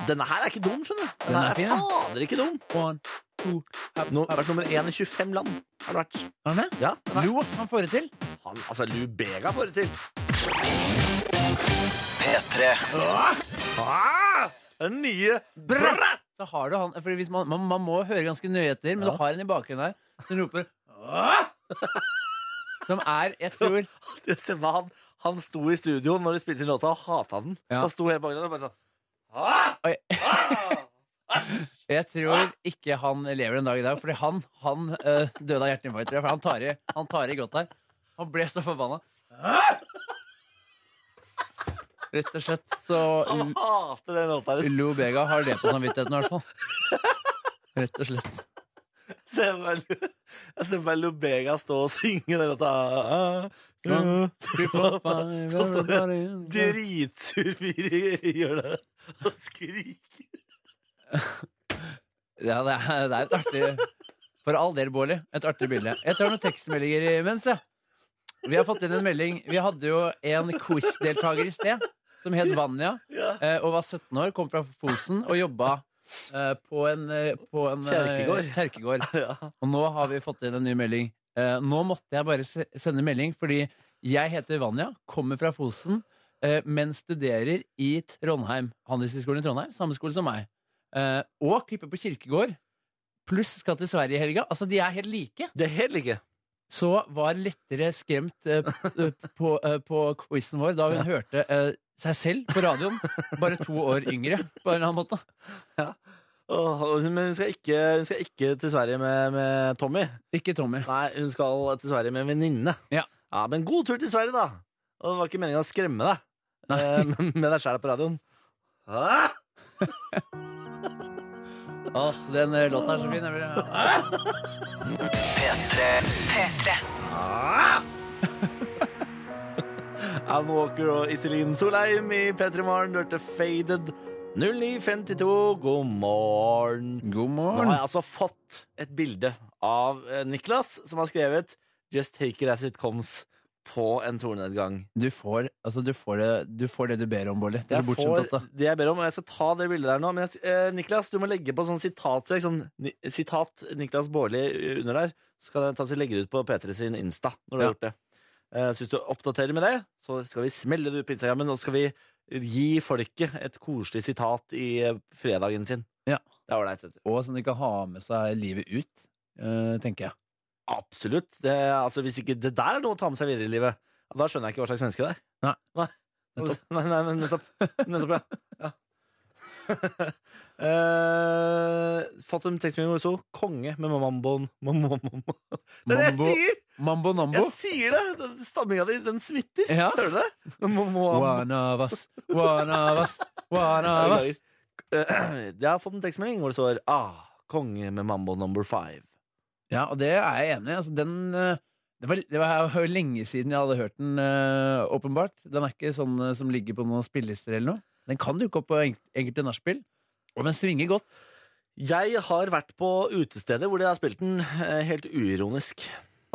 [SPEAKER 2] Denne her er ikke dum, skjønner du.
[SPEAKER 4] Den er fin, ja. Oh,
[SPEAKER 2] fader ikke dum.
[SPEAKER 4] One, two, up,
[SPEAKER 2] Nå
[SPEAKER 4] up.
[SPEAKER 2] har vært nummer én i 25 land. Har det vært.
[SPEAKER 4] Har den det?
[SPEAKER 2] Ja, den er-
[SPEAKER 4] Jo, han får det til.
[SPEAKER 2] han, altså, Lubega får det til.
[SPEAKER 1] P3.
[SPEAKER 2] Ah, den nye Bra!
[SPEAKER 4] Så har du han fordi hvis man, man, man må høre ganske nøye etter, men
[SPEAKER 2] Ja.
[SPEAKER 4] du har en i bakgrunnen her som roper «Åh!» Som er, jeg tror
[SPEAKER 2] [laughs] Se hva han, han sto i studio når de spilte inn låta, og hata den.
[SPEAKER 4] Ja.
[SPEAKER 2] Så han sto helt bak den og bare sånn ah!
[SPEAKER 4] Oi.
[SPEAKER 2] Ah!
[SPEAKER 4] Jeg tror ikke han lever en dag i dag, fordi han, han eh, døde av hjerteinfarkt. tror jeg, For han tar i, han tar i godt her. Han ble så forbanna. Rett og slett så
[SPEAKER 2] Han [laughs] hater den låta. her.
[SPEAKER 4] Lo Bega har det på samvittigheten i hvert fall. Rett og slett.
[SPEAKER 2] Se meg, jeg ser bare Lubega stå og synge den låta. Ah, [laughs] Så står det en dritsur fyr i hjørnet og skriker.
[SPEAKER 4] Ja, det er, det er et artig For all del, Bårli. Et artig bilde. Jeg tar noen tekstmeldinger imens, jeg. Vi har fått inn en melding. Vi hadde jo en quiz-deltaker i sted som het Vanja.
[SPEAKER 2] Ja.
[SPEAKER 4] eh, og var 17 år, kom fra Fosen og jobba eh, på en, eh, på en eh,
[SPEAKER 2] Kjerkegård.
[SPEAKER 4] kjerkegård.
[SPEAKER 2] Ja.
[SPEAKER 4] Og nå har vi fått inn en ny melding. Eh, nå måtte jeg bare se sende melding, fordi jeg heter Vanja, kommer fra Fosen, eh, men studerer i Trondheim. Handelshøyskolen i Trondheim, samme skole som meg. Eh, og klipper på kirkegård. Pluss skal til Sverige i helga. Altså, de er helt like.
[SPEAKER 2] Det er helt like.
[SPEAKER 4] Så var lettere skremt eh, p- på, eh, på quizen vår da hun hørte eh, seg selv på radioen. Bare to år yngre, på en eller annen måte.
[SPEAKER 2] Åh, og hun- Men hun skal ikke, hun skal ikke til Sverige med, med Tommy.
[SPEAKER 4] Ikke Tommy.
[SPEAKER 2] Nei, hun skal til Sverige med en venninne.
[SPEAKER 4] Ja.
[SPEAKER 2] Men god tur til Sverige, da! Og det var ikke meningen å skremme deg
[SPEAKER 4] Nei.
[SPEAKER 2] eh, men med deg sjæl på radioen. Ah!
[SPEAKER 4] Å, den eh, låta er så fin. Jeg blir, ja.
[SPEAKER 1] P3.
[SPEAKER 2] Alan Walker og Iselin Solheim i P3 Morgen. Du hørte Faded 0952. God morgen.
[SPEAKER 4] God
[SPEAKER 2] Nå har
[SPEAKER 4] morgen.
[SPEAKER 2] jeg altså fått et bilde av eh, Niklas, som har skrevet Just take it as it comes. på en solnedgang.
[SPEAKER 4] Du får, altså, du får, det, du får det du ber om, Bolli. Det er
[SPEAKER 2] Jeg
[SPEAKER 4] så bortskjemt
[SPEAKER 2] får
[SPEAKER 4] at det.
[SPEAKER 2] det jeg ber om, og jeg skal ta det bildet der nå. Men jeg, eh, Niklas, du må legge på sånn sitatsekk. Sånn, ni, sitat Niklas Baarli eh, under der. Så skal jeg ta så legge det ut på P3 sin Insta når du
[SPEAKER 4] Ja.
[SPEAKER 2] har gjort det. Eh, så hvis du oppdaterer med det, så skal vi smelle det ut på Instagrammen. Og så skal vi gi folket et koselig sitat i eh, fredagen sin.
[SPEAKER 4] Ja.
[SPEAKER 2] Det er ålreit. vet du.
[SPEAKER 4] Og som de kan ha med seg livet ut, eh, tenker jeg.
[SPEAKER 2] Absolutt. Det, altså, hvis ikke det der er noe å ta med seg videre i livet, ja, da skjønner jeg ikke hva slags menneske det er.
[SPEAKER 4] Nei.
[SPEAKER 2] Nei,
[SPEAKER 4] Nettopp.
[SPEAKER 2] [laughs] Nei, nei, nei, nettopp. nettopp, ja. [laughs] ja. Eh, fått en tekstmelding hvor det sto 'konge' med mamboen. Mambo. Det er det jeg
[SPEAKER 4] Mambo-
[SPEAKER 2] sier!
[SPEAKER 4] Mambo nambo.
[SPEAKER 2] Jeg sier det! Den Stamminga di, den smitter.
[SPEAKER 4] Ja.
[SPEAKER 2] Hører du det? Mambo.
[SPEAKER 4] One of us, one of us, one of us.
[SPEAKER 2] Eh, [clears throat] Jeg har fått en tekstmelding hvor det står 'ah, konge med mambo number five'.
[SPEAKER 4] Ja, og det er jeg enig i. Altså, den eh, det var, det var jo lenge siden jeg hadde hørt den, eh, åpenbart. Den er ikke sånn eh, som ligger på noen spillelister eller noe. Den kan dukke opp på enk- enkelte nachspiel, og den svinger godt.
[SPEAKER 2] Jeg har vært på utesteder hvor de har spilt den eh, helt uironisk.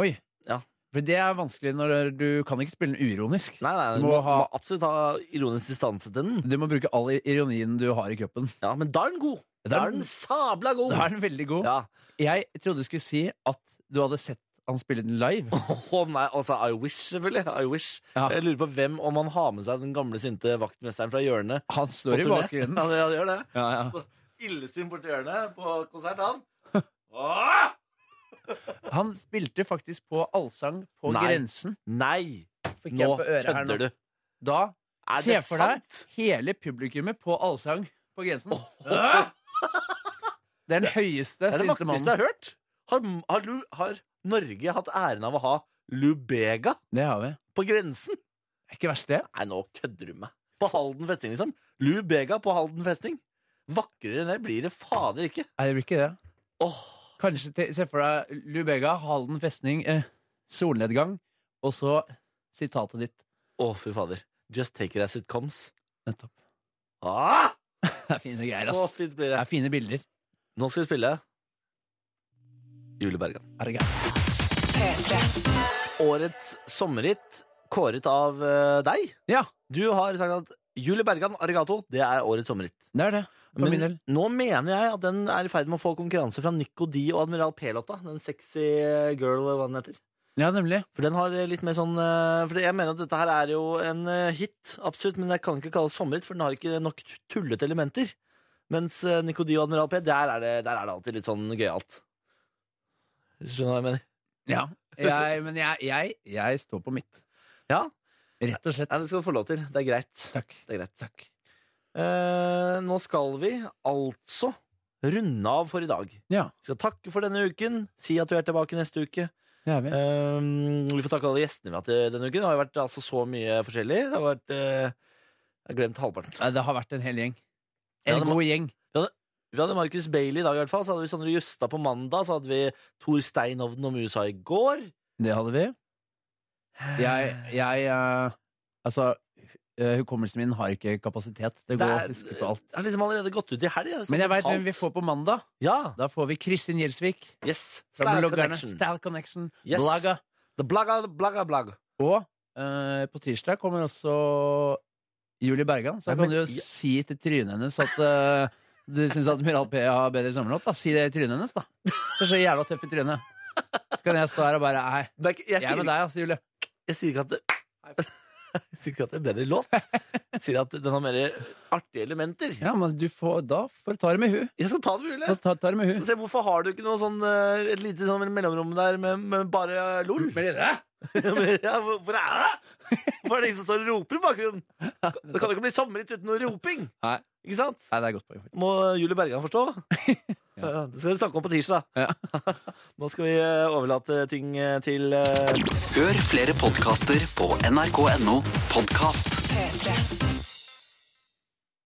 [SPEAKER 4] Oi.
[SPEAKER 2] Ja.
[SPEAKER 4] For det er vanskelig når du kan ikke spille den uironisk.
[SPEAKER 2] Nei, nei,
[SPEAKER 4] Du
[SPEAKER 2] du
[SPEAKER 4] må
[SPEAKER 2] må,
[SPEAKER 4] ha-
[SPEAKER 2] må absolutt ha ironisk distanse til den.
[SPEAKER 4] Du må bruke all i- ironien du har i kroppen.
[SPEAKER 2] Ja, Men da er den god! Da er den sabla god!
[SPEAKER 4] da er den veldig god.
[SPEAKER 2] Ja. [laughs]
[SPEAKER 4] Jeg trodde du skulle si at du hadde sett han spille den live.
[SPEAKER 2] Å nei, altså I wish, selvfølgelig. I wish.
[SPEAKER 4] Ja.
[SPEAKER 2] Jeg lurer på hvem, om han har med seg den gamle sinte vaktmesteren fra hjørnet.
[SPEAKER 4] Han
[SPEAKER 2] på
[SPEAKER 4] står i
[SPEAKER 2] turné.
[SPEAKER 4] bakgrunnen.
[SPEAKER 2] Ja, det- [laughs] ja, det gjør det.
[SPEAKER 4] Ja, ja.
[SPEAKER 2] Står Illesint borti hjørnet på konsert,
[SPEAKER 4] [laughs]
[SPEAKER 2] han. Åh!
[SPEAKER 4] Han spilte faktisk på allsang på
[SPEAKER 2] Nei.
[SPEAKER 4] grensen.
[SPEAKER 2] Nei!
[SPEAKER 4] Fikk
[SPEAKER 2] Nå
[SPEAKER 4] jeg på øret her nå.
[SPEAKER 2] kødder du.
[SPEAKER 4] Da
[SPEAKER 2] Er
[SPEAKER 4] Se
[SPEAKER 2] det
[SPEAKER 4] for deg-
[SPEAKER 2] sant?
[SPEAKER 4] hele publikummet på allsang på grensen. Hæ? Det er den høyeste
[SPEAKER 2] Det er det
[SPEAKER 4] sinte
[SPEAKER 2] vakreste jeg
[SPEAKER 4] mannen.
[SPEAKER 2] har hørt. Har, har, Lu- har Norge hatt æren av å ha Lubega
[SPEAKER 4] Det har vi.
[SPEAKER 2] på grensen?
[SPEAKER 4] Er ikke verst, det.
[SPEAKER 2] Nei, nå kødder du meg. På Halden festning, liksom. Lubega på Halden festning. Vakrere enn det blir det fader ikke.
[SPEAKER 4] Nei, det blir ikke det.
[SPEAKER 2] Åh,
[SPEAKER 4] Kanskje te- se for deg Lubega, Halden festning, eh, solnedgang, og så sitatet ditt.
[SPEAKER 2] åh, fy fader. Just take it as it comes.
[SPEAKER 4] Nettopp.
[SPEAKER 2] Ah!
[SPEAKER 4] Det er fine greier,
[SPEAKER 2] Så
[SPEAKER 4] ass.
[SPEAKER 2] fint
[SPEAKER 4] Det
[SPEAKER 2] blir det.
[SPEAKER 4] er fine bilder.
[SPEAKER 2] Nå skal vi spille Jule Bergan.
[SPEAKER 4] Er det gærent?
[SPEAKER 2] Årets sommerhit kåret av eh, deg.
[SPEAKER 4] Ja.
[SPEAKER 2] Du har sagt at Jule Bergan Arigato, det er årets sommerhit.
[SPEAKER 4] Det er det. For min del.
[SPEAKER 2] Men nå mener jeg at den er i ferd med å få konkurranse fra Nico D og Admiral P-låta. Den sexy girl, hva den heter.
[SPEAKER 4] Ja, nemlig.
[SPEAKER 2] For den har litt mer sånn eh, For jeg mener at dette her er jo en eh, hit, absolutt, men jeg kan ikke kalle det sommerhit, for den har ikke nok tullete elementer. Mens eh, Nico D og Admiral P, der er det, der er det alltid litt sånn gøyalt. Hvis du skjønner hva jeg mener?
[SPEAKER 4] Ja. [laughs] Jeg, men jeg, jeg, jeg står på mitt.
[SPEAKER 2] Ja.
[SPEAKER 4] Rett og slett.
[SPEAKER 2] Nei, det skal du få lov til. Det er greit.
[SPEAKER 4] Takk.
[SPEAKER 2] Det er greit. Eh, nå skal vi altså runde av for i dag.
[SPEAKER 4] Ja.
[SPEAKER 2] Vi skal takke for denne uken. Si at du er tilbake neste uke.
[SPEAKER 4] Det er vi.
[SPEAKER 2] Um, vi får takke alle gjestene vi har hatt eh, denne uken. Det har jo vært altså, så mye forskjellig. Det har vært eh, Jeg har glemt halvparten.
[SPEAKER 4] Nei, Det har vært en hel gjeng.
[SPEAKER 2] Ja,
[SPEAKER 4] En
[SPEAKER 2] det må-
[SPEAKER 4] god gjeng.
[SPEAKER 2] Vi hadde Marcus Bailey i dag, i hvert fall. Så hadde vi Sondre Justad på mandag. Så hadde vi Thor Steinovden og Musa i går.
[SPEAKER 4] Det hadde vi. Jeg, jeg eh, Altså, eh, hukommelsen min har ikke kapasitet til å
[SPEAKER 2] Det
[SPEAKER 4] gå
[SPEAKER 2] er-
[SPEAKER 4] og huske på alt.
[SPEAKER 2] Det har liksom allerede gått ut i helg. det er så
[SPEAKER 4] Men jeg veit hvem
[SPEAKER 2] brutalt.
[SPEAKER 4] vi får på mandag.
[SPEAKER 2] Ja.
[SPEAKER 4] Da får vi Kristin Gjelsvik.
[SPEAKER 2] Yes.
[SPEAKER 4] Fra
[SPEAKER 2] Style
[SPEAKER 4] bloggerne.
[SPEAKER 2] Connection.
[SPEAKER 4] Style Connection.
[SPEAKER 2] Yes.
[SPEAKER 4] Blogga.
[SPEAKER 2] The blagga, blagga, blagga.
[SPEAKER 4] Og eh, på tirsdag kommer også Julie Bergan. Så
[SPEAKER 2] Ja,
[SPEAKER 4] da kan
[SPEAKER 2] men-
[SPEAKER 4] du jo
[SPEAKER 2] ja.
[SPEAKER 4] si til trynet hennes at eh, du syns Admiral P har bedre sommerlåt. Da. Si det i trynet hennes, da. Så så jævla tøff i trynet. Så kan jeg stå her og bare Nei,
[SPEAKER 2] Det er ikke- jeg
[SPEAKER 4] jeg er
[SPEAKER 2] sier
[SPEAKER 4] med deg, altså, Julie.
[SPEAKER 2] Jeg sier ikke at det [laughs] jeg sier ikke at det er bedre låt. Jeg sier at den har mer artige elementer.
[SPEAKER 4] Ja, men du får, da får du ta det med hu.
[SPEAKER 2] Jeg skal ta det med Julie.
[SPEAKER 4] Da tar, tar det med hu.
[SPEAKER 2] Så Se, hvorfor har du ikke noe sånn, eh, et lite sånn mellomrom der med, med bare LOL? [laughs] Ja, men- ja, hvor hvor er det? Hvorfor er det ingen som står og roper i bakgrunnen? Det kan jo ikke bli sommerhit uten noe roping.
[SPEAKER 4] Nei.
[SPEAKER 2] Ikke sant?
[SPEAKER 4] Nei, det er godt poeng. faktisk.
[SPEAKER 2] Må Julie Bergan forstå? [laughs] Ja, Det skal vi snakke om på tirsdag. Nå skal vi eh, overlate ting eh, til eh,
[SPEAKER 1] Hør flere podkaster på nrk.no podkast.
[SPEAKER 3] P3.